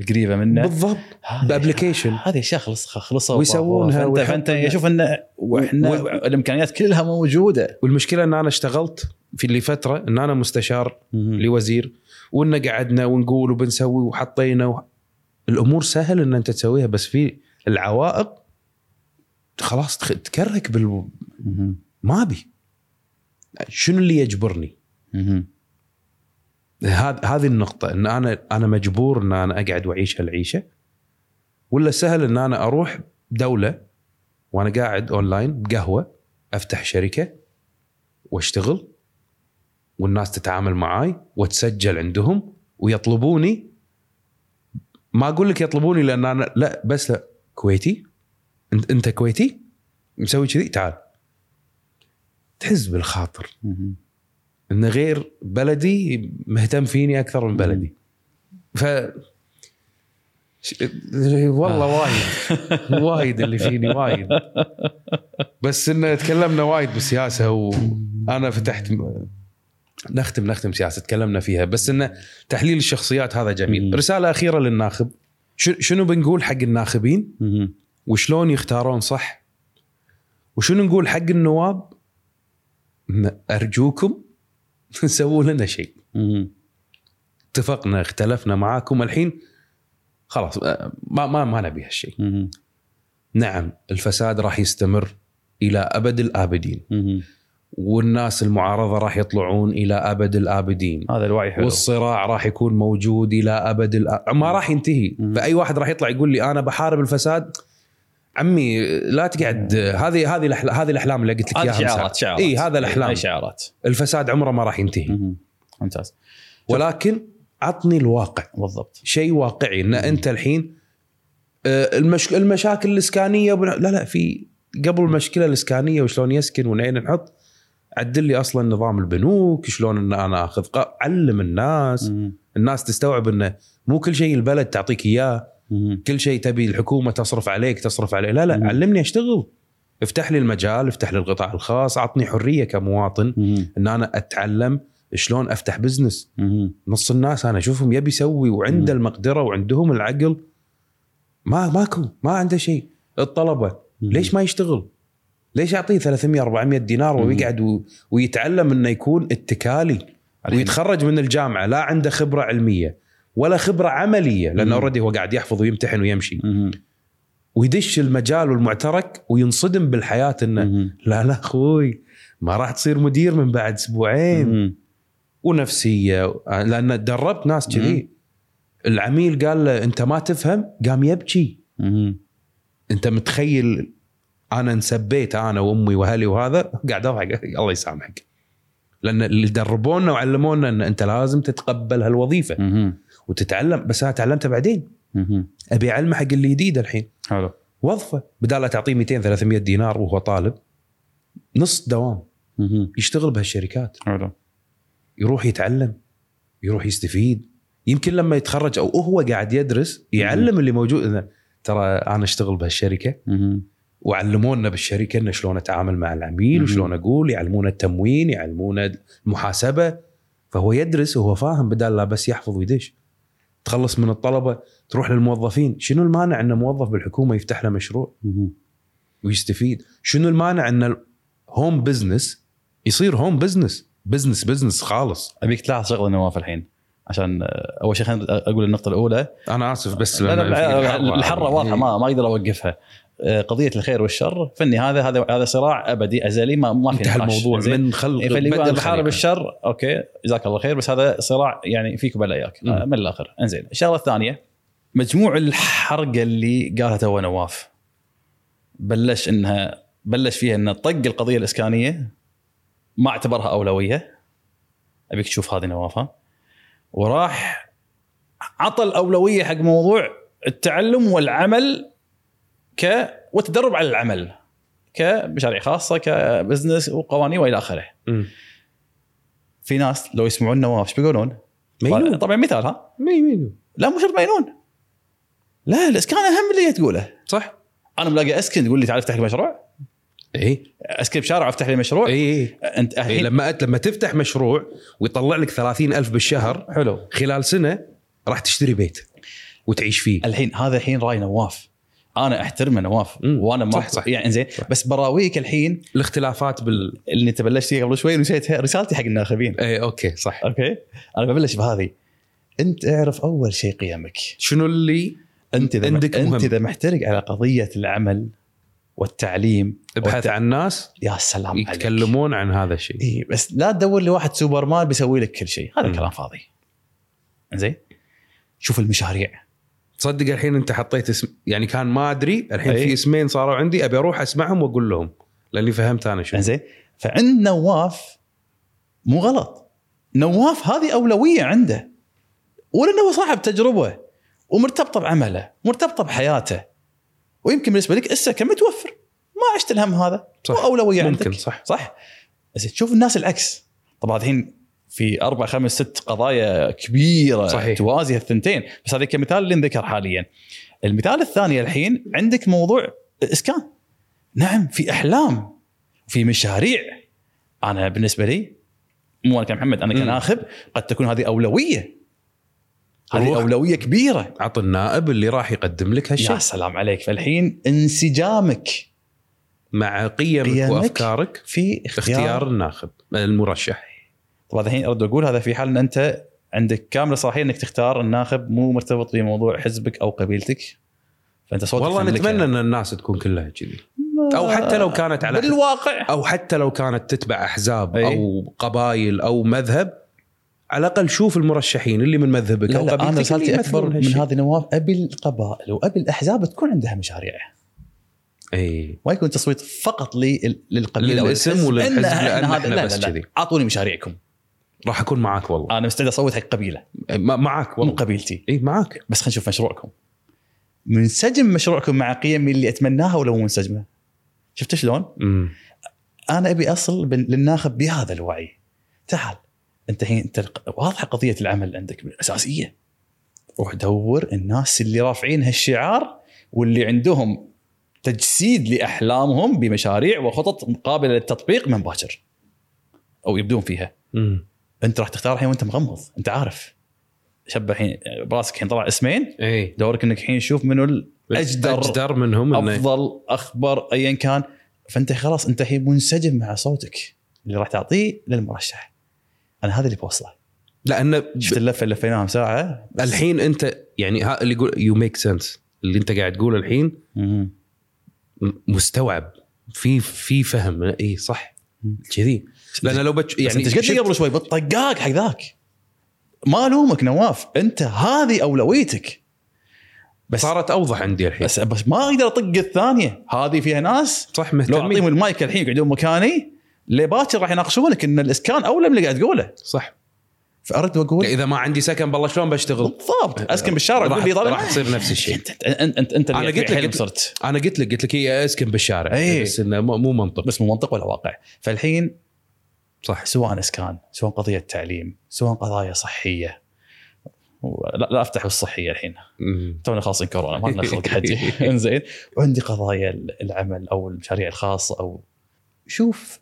Speaker 2: القريبه منه
Speaker 1: بالضبط
Speaker 2: هذه-
Speaker 1: بأبليكيشن.
Speaker 2: هذه اشياء خلص خلصوا
Speaker 1: ويسوونها
Speaker 2: فأنت- فانت
Speaker 1: ويحطون-
Speaker 2: يشوف انه واحنا
Speaker 1: و-
Speaker 2: الامكانيات كلها موجوده
Speaker 1: والمشكله ان انا اشتغلت في اللي فتره ان انا مستشار لوزير وان قعدنا ونقول وبنسوي وحطينا و... الامور سهل ان انت تسويها بس في العوائق خلاص تخ... تكرهك بال
Speaker 2: مهم.
Speaker 1: ما ابي شنو اللي يجبرني؟
Speaker 2: مهم.
Speaker 1: هذ... هذه النقطة ان انا انا مجبور ان انا اقعد واعيش هالعيشة ولا سهل ان انا اروح دولة وانا قاعد اونلاين بقهوة افتح شركة واشتغل والناس تتعامل معاي واتسجل عندهم ويطلبوني ما اقول لك يطلبوني لان انا لا بس لا كويتي انت, انت كويتي مسوي كذي تعال تحز بالخاطر
Speaker 2: مهم.
Speaker 1: ان غير بلدي مهتم فيني اكثر من بلدي ف ش- والله وايد وايد اللي فيني وايد بس ان تكلمنا وايد بالسياسه وانا فتحت نختم نختم سياسه تكلمنا فيها بس ان تحليل الشخصيات هذا جميل
Speaker 2: مم.
Speaker 1: رساله اخيره للناخب ش- شنو بنقول حق الناخبين
Speaker 2: مهم.
Speaker 1: وشلون يختارون صح وشنو نقول حق النواب إن ارجوكم سووا لنا شيء
Speaker 2: مهم.
Speaker 1: اتفقنا اختلفنا معاكم الحين خلاص آه، ما ما ما نبي هالشيء
Speaker 2: مهم.
Speaker 1: نعم الفساد راح يستمر الى ابد الابدين
Speaker 2: مهم.
Speaker 1: والناس المعارضه راح يطلعون الى ابد الابدين
Speaker 2: هذا الوعي حلو
Speaker 1: والصراع راح يكون موجود الى ابد الأ... ما راح ينتهي
Speaker 2: مم.
Speaker 1: فاي واحد راح يطلع يقول لي انا بحارب الفساد عمي لا تقعد هذه هذه الأحل- هذه الاحلام اللي قلت لك
Speaker 2: هذه
Speaker 1: اياها
Speaker 2: شعارات
Speaker 1: مساء.
Speaker 2: شعارات
Speaker 1: اي هذا الاحلام
Speaker 2: اي شعارات
Speaker 1: الفساد عمره ما راح ينتهي
Speaker 2: مهم. ممتاز
Speaker 1: ولكن عطني الواقع
Speaker 2: بالضبط
Speaker 1: شيء واقعي ان انت الحين آه، المش... المشاكل الاسكانيه بنا... لا لا في قبل المشكله الاسكانيه وشلون يسكن وين نحط عدل لي اصلا نظام البنوك شلون ان انا اخذ قا... علم الناس
Speaker 2: مهم.
Speaker 1: الناس تستوعب انه مو كل شيء البلد تعطيك اياه،
Speaker 2: مهم.
Speaker 1: كل شيء تبي الحكومه تصرف عليك تصرف عليه، لا لا
Speaker 2: مم.
Speaker 1: علمني اشتغل. افتح لي المجال، افتح لي القطاع الخاص، اعطني حريه كمواطن
Speaker 2: مهم.
Speaker 1: ان انا اتعلم شلون افتح بزنس،
Speaker 2: مهم.
Speaker 1: نص الناس انا اشوفهم يبي يسوي وعنده المقدره وعندهم العقل ما ماكو ما عنده شيء، الطلبه ليش ما يشتغل؟ ليش اعطيه 300 400 دينار
Speaker 2: مم.
Speaker 1: ويقعد و- ويتعلم انه يكون اتكالي؟
Speaker 2: الحين-
Speaker 1: ويتخرج من الجامعه لا عنده خبره علميه ولا خبره عمليه لانه
Speaker 2: مم.
Speaker 1: اوريدي هو قاعد يحفظ ويمتحن ويمشي
Speaker 2: مهم.
Speaker 1: ويدش المجال والمعترك وينصدم بالحياه انه
Speaker 2: مهم.
Speaker 1: لا لا اخوي ما راح تصير مدير من بعد اسبوعين
Speaker 2: مهم.
Speaker 1: ونفسيه لان دربت ناس كذي العميل قال له انت ما تفهم قام يبكي
Speaker 2: مهم.
Speaker 1: انت متخيل انا انسبيت انا وامي واهلي وهذا قاعد اضحك الله يسامحك لان اللي دربونا وعلمونا ان انت لازم تتقبل هالوظيفه
Speaker 2: مهم.
Speaker 1: وتتعلم بس انا تعلمته بعدين
Speaker 2: مهم.
Speaker 1: ابي اعلمه حق اللي جديد الحين
Speaker 2: حلو
Speaker 1: وظفه بدال لا تعطيه 200 300 دينار وهو طالب نص دوام
Speaker 2: مهم.
Speaker 1: يشتغل بهالشركات
Speaker 2: حلو
Speaker 1: يروح يتعلم يروح يستفيد يمكن لما يتخرج او هو قاعد يدرس يعلم اللي موجود إنه ترى انا اشتغل بهالشركه
Speaker 2: مهم.
Speaker 1: وعلمونا بالشركه انه شلون اتعامل مع العميل
Speaker 2: مهم.
Speaker 1: وشلون اقول يعلمونا التموين يعلمونا المحاسبه فهو يدرس وهو فاهم بدل لا بس يحفظ ويدش تخلص من الطلبه تروح للموظفين شنو المانع ان موظف بالحكومه يفتح له مشروع
Speaker 2: مهم.
Speaker 1: ويستفيد شنو المانع ان الهوم بزنس يصير هوم بزنس بزنس بزنس خالص
Speaker 2: ابيك تلاحظ شغله نواف الحين عشان آه، اول شيء خلينا اقول النقطه الاولى
Speaker 1: انا اسف بس
Speaker 2: لا لا
Speaker 1: لأن في إيه.
Speaker 2: لا الحره واضحه ما ما اقدر اوقفها آه، قضيه الخير والشر فني هذا هذا هذا صراع ابدي ازلي ما ما في
Speaker 1: انتهى
Speaker 2: نقاش.
Speaker 1: الموضوع
Speaker 2: زين؟
Speaker 1: من خلق
Speaker 2: إيه، فاللي يقول انا
Speaker 1: بدل
Speaker 2: بحارب
Speaker 1: خليقة.
Speaker 2: الشر اوكي جزاك الله خير بس هذا صراع يعني فيك وبلا اياك آه، من الاخر انزين الشغله الثانيه مجموع الحرقه اللي قالها تو نواف بلش انها بلش فيها ان طق القضيه الاسكانيه ما اعتبرها اولويه ابيك تشوف هذه نوافه وراح عطى الاولويه حق موضوع التعلم والعمل ك والتدرب على العمل كمشاريع خاصه كبزنس وقوانين والى اخره
Speaker 1: مم.
Speaker 2: في ناس لو يسمعون نواف ايش بيقولون؟
Speaker 1: مينون
Speaker 2: طبعا مثال ها
Speaker 1: مي- مينون
Speaker 2: لا مو شرط مينون لا الاسكان اهم اللي هي تقوله
Speaker 1: صح
Speaker 2: انا ملاقي اسكن تقول لي تعال افتح لي مشروع
Speaker 1: اي
Speaker 2: اسكن بشارع وافتح لي مشروع
Speaker 1: اي
Speaker 2: انت
Speaker 1: إيه
Speaker 2: الحين
Speaker 1: لما أت... لما تفتح مشروع ويطلع لك 30 ألف بالشهر
Speaker 2: حلو
Speaker 1: خلال سنة راح تشتري بيت وتعيش فيه
Speaker 2: الحين هذا الحين راي نواف انا احترمه نواف
Speaker 1: مم.
Speaker 2: وانا ما
Speaker 1: صح، صح.
Speaker 2: يعني زين
Speaker 1: صح.
Speaker 2: بس براويك الحين
Speaker 1: الاختلافات بال
Speaker 2: اللي انت بلشت فيه قبل شوي نسيتها رسالتي حق الناخبين
Speaker 1: اي اوكي صح
Speaker 2: اوكي انا ببلش بهذه انت اعرف اول شيء قيمك
Speaker 1: شنو اللي
Speaker 2: انت اذا
Speaker 1: عندك مهم.
Speaker 2: انت اذا محترق على قضيه العمل والتعليم
Speaker 1: ابحث
Speaker 2: والت-
Speaker 1: عن ناس
Speaker 2: يا سلام عليك.
Speaker 1: يتكلمون عن هذا الشيء
Speaker 2: اي إيه، بس لا تدور لواحد سوبرمان بيسوي لك كل شيء هذا
Speaker 1: مم.
Speaker 2: كلام فاضي زين شوف المشاريع
Speaker 1: تصدق الحين انت حطيت اسم يعني كان ما ادري الحين
Speaker 2: إي.
Speaker 1: في اسمين صاروا عندي ابي اروح اسمعهم واقول لهم لاني فهمت انا شنو
Speaker 2: زين فعند نواف مو غلط نواف هذه اولويه عنده ولانه هو صاحب تجربه ومرتبطه بعمله مرتبطه بحياته ويمكن بالنسبه لك اسا كم متوفر ما عشت الهم هذا
Speaker 1: صح.
Speaker 2: هو اولويه يعني عندك
Speaker 1: ممكن صح
Speaker 2: صح زين تشوف الناس العكس طبعا الحين في اربع خمس ست قضايا كبيره
Speaker 1: صحيح.
Speaker 2: توازي الثنتين بس هذا كمثال اللي انذكر حاليا المثال الثاني الحين عندك موضوع الاسكان نعم في احلام في مشاريع انا بالنسبه لي مو انا كمحمد انا
Speaker 1: مم.
Speaker 2: كناخب قد تكون هذه اولويه هذه
Speaker 1: روح.
Speaker 2: اولويه كبيره
Speaker 1: عط النائب اللي راح يقدم لك هالشيء
Speaker 2: يا سلام عليك فالحين انسجامك
Speaker 1: مع قيمك
Speaker 2: قيمك.
Speaker 1: وافكارك
Speaker 2: في
Speaker 1: اختيار الناخب المرشح
Speaker 2: طبعا الحين ارد اقول هذا في حال ان انت عندك كامله صلاحيه انك تختار الناخب مو مرتبط بموضوع حزبك او قبيلتك فانت صوتك يعني.
Speaker 1: والله
Speaker 2: تملكه.
Speaker 1: نتمنى ان الناس تكون كلها كذي او حتى لو كانت على
Speaker 2: بالواقع
Speaker 1: او حتى لو كانت تتبع احزاب
Speaker 2: أي.
Speaker 1: او قبائل او مذهب على الاقل شوف المرشحين اللي من مذهبك
Speaker 2: لا
Speaker 1: او
Speaker 2: لا انا
Speaker 1: قبيلتك
Speaker 2: رسالتي
Speaker 1: اللي
Speaker 2: اكبر
Speaker 1: يمثلون
Speaker 2: من
Speaker 1: هالشيء.
Speaker 2: هذه نواف ابي القبائل وابي الاحزاب تكون عندها مشاريع
Speaker 1: اي
Speaker 2: ما يكون تصويت فقط لل- للقبيله
Speaker 1: للاسم
Speaker 2: والحزب.
Speaker 1: وللحزب
Speaker 2: إن إحنا
Speaker 1: لأن
Speaker 2: هذا-
Speaker 1: إحنا
Speaker 2: لا
Speaker 1: بس
Speaker 2: لا لا
Speaker 1: كذي.
Speaker 2: اعطوني مشاريعكم
Speaker 1: راح اكون معاك والله
Speaker 2: انا مستعد اصوت حق قبيله
Speaker 1: ما- معاك
Speaker 2: مو
Speaker 1: والله
Speaker 2: قبيلتي
Speaker 1: اي معاك
Speaker 2: بس خلينا نشوف مشروعكم منسجم مشروعكم مع قيمي اللي اتمناها ولا مو منسجمه شفت شلون؟
Speaker 1: أمم.
Speaker 2: انا ابي اصل بن- للناخب بهذا الوعي تعال انت الحين انت الق- واضحه قضيه العمل عندك اساسيه روح دور الناس اللي رافعين هالشعار واللي عندهم تجسيد لاحلامهم بمشاريع وخطط قابله للتطبيق من باكر او يبدون فيها
Speaker 1: أمم.
Speaker 2: انت راح تختار الحين وانت مغمض انت عارف شب الحين براسك الحين طلع اسمين
Speaker 1: اي
Speaker 2: دورك انك الحين شوف منو الاجدر
Speaker 1: اجدر منهم انه
Speaker 2: افضل اخبر ايا كان فانت خلاص انت الحين منسجم مع صوتك اللي راح تعطيه للمرشح انا هذا اللي بوصله
Speaker 1: لان
Speaker 2: شفت اللفه اللي لفيناها ساعه
Speaker 1: الحين انت يعني ها اللي يقول يو ميك سنس اللي انت قاعد تقوله الحين
Speaker 2: مهم.
Speaker 1: م- مستوعب في في فهم اي صح
Speaker 2: مم.
Speaker 1: كذي لان لو بتش
Speaker 2: يعني
Speaker 1: يعني
Speaker 2: انت ايش قلت لي
Speaker 1: شفت-
Speaker 2: قبل شوي بالطقاق حق ذاك ما الومك نواف انت هذه اولويتك
Speaker 1: إيه.
Speaker 2: بس
Speaker 1: صارت اوضح عندي الحين
Speaker 2: بس بس ما اقدر اطق الثانيه هذه فيها ناس
Speaker 1: صح
Speaker 2: لو اعطيهم
Speaker 1: مهتمين
Speaker 2: المايك الحين يقعدون مكاني لباكر راح يناقشونك ان الاسكان اولى من اللي قاعد تقوله
Speaker 1: صح
Speaker 2: فاردت اقول
Speaker 1: اذا ما عندي سكن بالله شلون بشتغل؟
Speaker 2: بالضبط اسكن بالشارع
Speaker 1: إيه، راح-
Speaker 2: اقول لي ضرب
Speaker 1: راح تصير نفس الشيء.
Speaker 2: انت انت انت, انت
Speaker 1: أنا
Speaker 2: اللي
Speaker 1: قلت لك-
Speaker 2: حلم
Speaker 1: قلت-
Speaker 2: صرت
Speaker 1: انا قلت لك قلت لك هي اسكن بالشارع
Speaker 2: إيه.
Speaker 1: بس انه مو مو منطق
Speaker 2: بس مو منطق ولا واقع فالحين
Speaker 1: صح
Speaker 2: سواء اسكان سواء قضيه تعليم سواء قضايا صحيه و- لا, لا افتح بالصحيه الحين
Speaker 1: مم.
Speaker 2: تونا خالصين كورونا ما لنا خلق حجي انزين وعندي قضايا ال- العمل او المشاريع الخاصه او شوف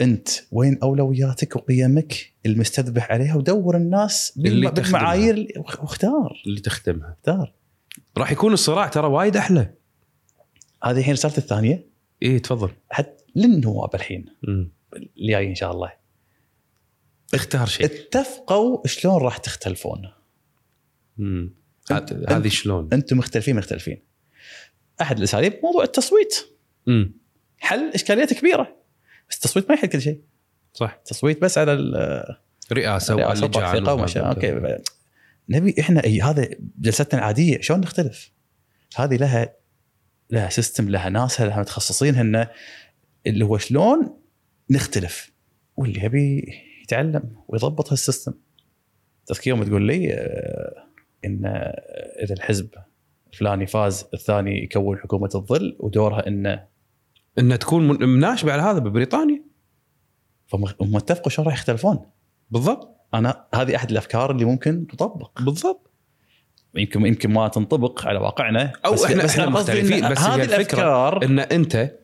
Speaker 2: انت وين اولوياتك وقيمك المستذبح عليها ودور الناس بالم-
Speaker 1: اللي تخدمها.
Speaker 2: بالمعايير اللي- واخ- واختار
Speaker 1: اللي تخدمها
Speaker 2: اختار
Speaker 1: راح يكون الصراع ترى وايد احلى
Speaker 2: هذه الحين صارت الثانيه
Speaker 1: ايه تفضل
Speaker 2: حتى للنواب الحين
Speaker 1: مم.
Speaker 2: اللي جاي ان شاء الله
Speaker 1: اختار شيء
Speaker 2: اتفقوا شلون راح تختلفون
Speaker 1: مم.
Speaker 2: أنت-
Speaker 1: هذ- هذه
Speaker 2: أنت-
Speaker 1: شلون؟
Speaker 2: انتم مختلفين مختلفين احد الاساليب موضوع التصويت
Speaker 1: مم.
Speaker 2: حل اشكاليات كبيره بس التصويت ما يحل كل شيء
Speaker 1: صح
Speaker 2: التصويط بس على ال-
Speaker 1: رئاسه
Speaker 2: لا،
Speaker 1: وعلى
Speaker 2: أتوقع
Speaker 1: اللجان
Speaker 2: ثقة وما
Speaker 1: وهذا.
Speaker 2: شاء- اوكي بعد. نبي احنا اي هذا جلستنا العاديه شلون نختلف؟ هذه لها لها سيستم لها ناسها لها متخصصين هن اللي هو شلون نختلف واللي يبي يتعلم ويضبط هالسيستم تذكر يوم تقول لي آه، ان آه، اذا الحزب الفلاني فاز الثاني يكون حكومه الظل ودورها انه
Speaker 1: انها تكون من- مناشبه على هذا ببريطانيا
Speaker 2: فهم هم اتفقوا شلون راح يختلفون
Speaker 1: بالضبط
Speaker 2: انا هذه احد الافكار اللي ممكن تطبق
Speaker 1: بالضبط
Speaker 2: يمكن يمكن ما تنطبق على واقعنا
Speaker 1: أو
Speaker 2: بس
Speaker 1: إحنا-
Speaker 2: بس
Speaker 1: إحنا
Speaker 2: أنا قصدي
Speaker 1: مختلفين،
Speaker 2: إن
Speaker 1: بس هي
Speaker 2: هذه
Speaker 1: الفكرة.
Speaker 2: الافكار
Speaker 1: ان انت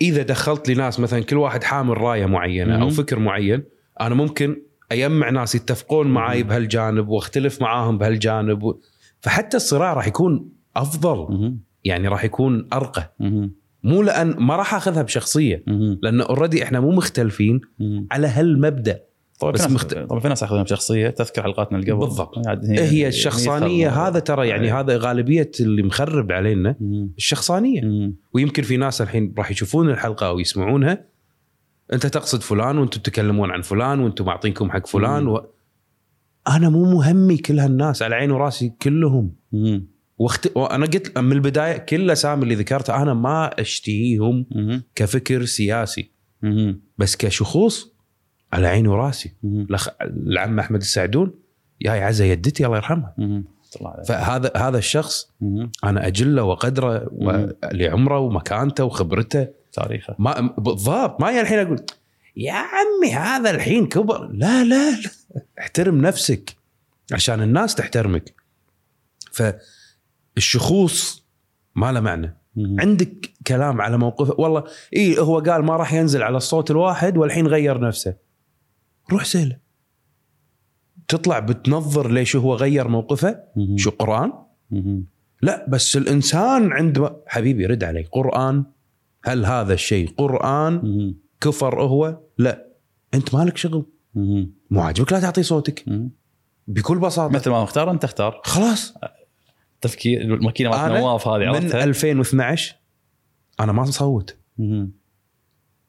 Speaker 1: اذا دخلت لي ناس مثلا كل واحد حامل رايه معينه او
Speaker 2: مم.
Speaker 1: فكر معين انا ممكن اجمع ناس يتفقون معاي
Speaker 2: مم.
Speaker 1: بهالجانب واختلف معاهم بهالجانب و... فحتى الصراع راح يكون افضل
Speaker 2: مهم.
Speaker 1: يعني راح يكون ارقى
Speaker 2: مهم.
Speaker 1: مو لان ما راح اخذها بشخصيه
Speaker 2: مهم.
Speaker 1: لان اوريدي احنا مو مختلفين
Speaker 2: مهم.
Speaker 1: على هالمبدا
Speaker 2: طبعا
Speaker 1: بس
Speaker 2: في ناس
Speaker 1: مخت-
Speaker 2: طبعا في ناس ياخذونها بشخصيه تذكر حلقاتنا اللي قبل يعني
Speaker 1: بالضبط.
Speaker 2: عاد
Speaker 1: هي الشخصانيه
Speaker 2: خل-
Speaker 1: هذا ترى يعني
Speaker 2: إيه.
Speaker 1: هذا غالبيه اللي مخرب علينا
Speaker 2: مهم.
Speaker 1: الشخصانيه
Speaker 2: مهم.
Speaker 1: ويمكن في ناس الحين راح يشوفون الحلقه او يسمعونها انت تقصد فلان وانتم تتكلمون عن فلان وانتم معطينكم حق فلان
Speaker 2: مم.
Speaker 1: و... انا مو مهمي كل هالناس على عيني وراسي كلهم
Speaker 2: مهم.
Speaker 1: واخت... وانا قلت من البدايه كل الاسامي اللي ذكرتها انا ما اشتهيهم
Speaker 2: مهم.
Speaker 1: كفكر سياسي
Speaker 2: مهم.
Speaker 1: بس كشخوص على عيني وراسي
Speaker 2: مهم.
Speaker 1: الأخ- العم احمد السعدون يا عزة يدتي الله يرحمها
Speaker 2: مهم. طلع عليك.
Speaker 1: فهذا هذا الشخص
Speaker 2: مهم.
Speaker 1: انا اجله وقدره
Speaker 2: مم.
Speaker 1: ولعمره ومكانته وخبرته
Speaker 2: تاريخه
Speaker 1: ما بالضبط ما هي الحين اقول يا عمي هذا الحين كبر لا لا, لا. احترم نفسك عشان الناس تحترمك فالشخوص ما له معنى
Speaker 2: مهم.
Speaker 1: عندك كلام على موقفه والله اي هو قال ما راح ينزل على الصوت الواحد والحين غير نفسه روح سهله تطلع بتنظر ليش هو غير موقفه
Speaker 2: مهم.
Speaker 1: شو قران
Speaker 2: مهم.
Speaker 1: لا بس الانسان عندما حبيبي رد علي قران هل هذا الشيء قران
Speaker 2: مهم.
Speaker 1: كفر هو لا انت مالك شغل
Speaker 2: مهم.
Speaker 1: مو عاجبك لا تعطي صوتك
Speaker 2: مهم.
Speaker 1: بكل بساطه
Speaker 2: مثل ما مختار انت اختار
Speaker 1: خلاص
Speaker 2: تفكير الماكينه مالت
Speaker 1: أنا
Speaker 2: نواف هذه
Speaker 1: من
Speaker 2: عرفتها
Speaker 1: 2012 انا ما صوت
Speaker 2: مهم.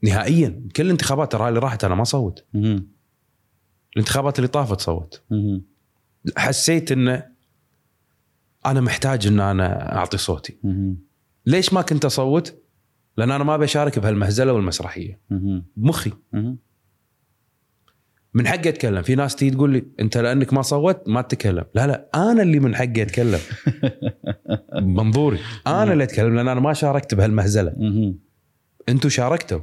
Speaker 1: نهائيا كل الانتخابات ترى اللي راحت انا ما صوت
Speaker 2: مهم.
Speaker 1: الانتخابات اللي طافت صوت
Speaker 2: مهم.
Speaker 1: حسيت انه انا محتاج ان انا اعطي صوتي
Speaker 2: مهم.
Speaker 1: ليش ما كنت اصوت لان انا ما بشارك بهالمهزله والمسرحيه
Speaker 2: مهم.
Speaker 1: بمخي
Speaker 2: مهم.
Speaker 1: من حقي اتكلم في ناس تيجي تقول لي انت لانك ما صوت ما تتكلم لا لا انا اللي من حقي اتكلم منظوري انا اللي اتكلم لان انا ما شاركت بهالمهزله
Speaker 2: مهم.
Speaker 1: انتم شاركتوا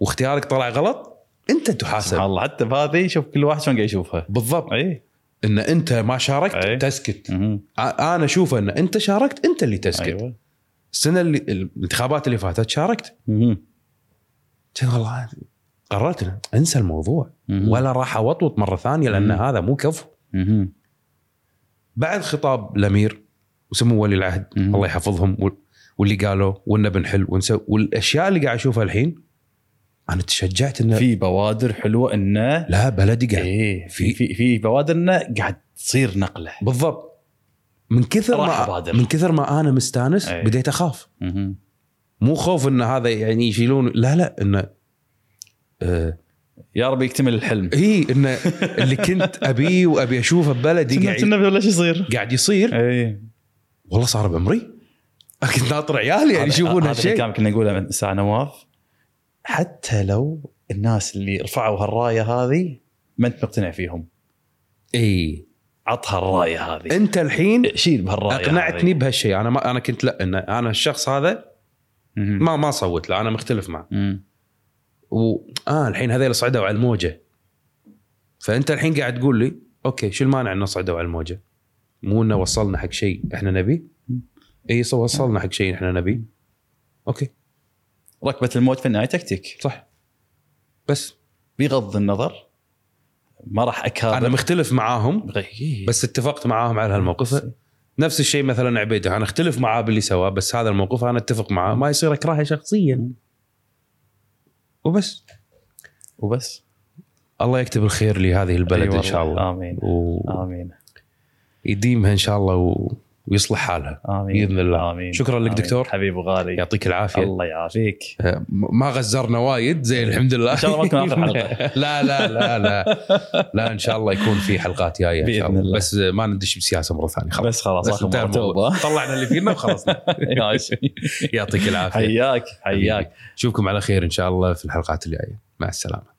Speaker 1: واختيارك طلع غلط انت
Speaker 2: سبحان
Speaker 1: تحاسب
Speaker 2: الله حتى بهذه شوف كل واحد شلون قاعد إيه؟ يشوفها
Speaker 1: بالضبط
Speaker 2: اي
Speaker 1: ان انت ما شاركت
Speaker 2: أي.
Speaker 1: تسكت
Speaker 2: مهم.
Speaker 1: أ- انا اشوف ان انت شاركت انت اللي تسكت
Speaker 2: ايوه
Speaker 1: السنه اللي الانتخابات اللي فاتت شاركت
Speaker 2: مهم.
Speaker 1: قلت والله قررت إن انسى الموضوع
Speaker 2: مهم.
Speaker 1: ولا راح اوطوط مره ثانيه لان
Speaker 2: مم.
Speaker 1: هذا مو كفو
Speaker 2: مهم.
Speaker 1: بعد خطاب الامير وسمو ولي العهد
Speaker 2: مم.
Speaker 1: الله يحفظهم وال- واللي قالوا وانه بنحل ونسوي والاشياء اللي قاعد اشوفها الحين انا تشجعت انه
Speaker 2: في بوادر حلوه انه
Speaker 1: لا بلدي قاعد
Speaker 2: ايه
Speaker 1: في-
Speaker 2: في في في بوادر انه قاعد تصير نقله
Speaker 1: بالضبط من كثر
Speaker 2: راح
Speaker 1: ما
Speaker 2: أبادر. إيه.
Speaker 1: من كثر ما انا مستانس
Speaker 2: أي.
Speaker 1: بديت اخاف
Speaker 2: مهم.
Speaker 1: مو خوف ان هذا يعني يشيلون لا لا انه آه،
Speaker 2: يا رب يكتمل الحلم
Speaker 1: هي ان اللي كنت ابيه وابي اشوفه ببلدي قاعد
Speaker 2: ولا شو يصير
Speaker 1: قاعد يصير
Speaker 2: ايه
Speaker 1: والله صار بعمري كنت ناطر عيالي يعني يشوفون
Speaker 2: هالشيء
Speaker 1: هالشيء
Speaker 2: الكلام كنا نقوله من ساعه نواف حتى لو الناس اللي رفعوا هالرايه هذه ما انت مقتنع فيهم
Speaker 1: اي
Speaker 2: عطها الرايه هذه
Speaker 1: انت إيه. الحين
Speaker 2: شيل بهالرايه
Speaker 1: اقنعتني بهالشيء انا ما انا كنت لا إن انا الشخص هذا
Speaker 2: ما
Speaker 1: ما ما صوت له انا مختلف معه و... اه الحين هذيل صعدوا على الموجه فانت الحين قاعد تقول لي اوكي شو المانع ان صعدوا على الموجه؟ مو انه وصلنا حق شيء احنا نبيه؟ اي صو- وصلنا حق شيء احنا نبيه اوكي
Speaker 2: ركبه الموت في النهايه تكتيك
Speaker 1: صح بس
Speaker 2: بغض النظر ما راح اكابر
Speaker 1: انا مختلف معاهم
Speaker 2: بغي-
Speaker 1: بس اتفقت معاهم على هالموقف نفس الشيء مثلا عبيده انا اختلف معاه باللي سواه بس هذا الموقف انا اتفق معاه ما يصير اكرهه شخصيا وبس
Speaker 2: وبس
Speaker 1: الله يكتب الخير لهذه البلد
Speaker 2: أي
Speaker 1: أيوة
Speaker 2: والله.
Speaker 1: ان شاء الله
Speaker 2: امين
Speaker 1: و-
Speaker 2: امين
Speaker 1: ويديمها ان شاء الله و... ويصلح حالها
Speaker 2: امين
Speaker 1: بإذن الله.
Speaker 2: امين
Speaker 1: شكراً لك
Speaker 2: آمين.
Speaker 1: دكتور.
Speaker 2: حبيب وغالي
Speaker 1: يعطيك العافيه
Speaker 2: الله يعافيك
Speaker 1: آه، م- ما غزرنا وايد زي الحمد لله
Speaker 2: ان شاء الله ما تكون اخر حلقه
Speaker 1: لا لا لا لا لا ان شاء الله يكون في حلقات جايه ان شاء
Speaker 2: بإذن
Speaker 1: الله
Speaker 2: الله.
Speaker 1: بس آه، ما ندش بسياسه مره ثانيه خلاص
Speaker 2: بس خلاص
Speaker 1: بس
Speaker 2: اخر
Speaker 1: انتهى
Speaker 2: مره
Speaker 1: الموضوع.
Speaker 2: توبه
Speaker 1: طلعنا اللي فينا وخلصنا
Speaker 2: ماشي.
Speaker 1: يعطيك العافيه
Speaker 2: حياك حياك
Speaker 1: نشوفكم على خير ان شاء الله في الحلقات الجايه مع السلامه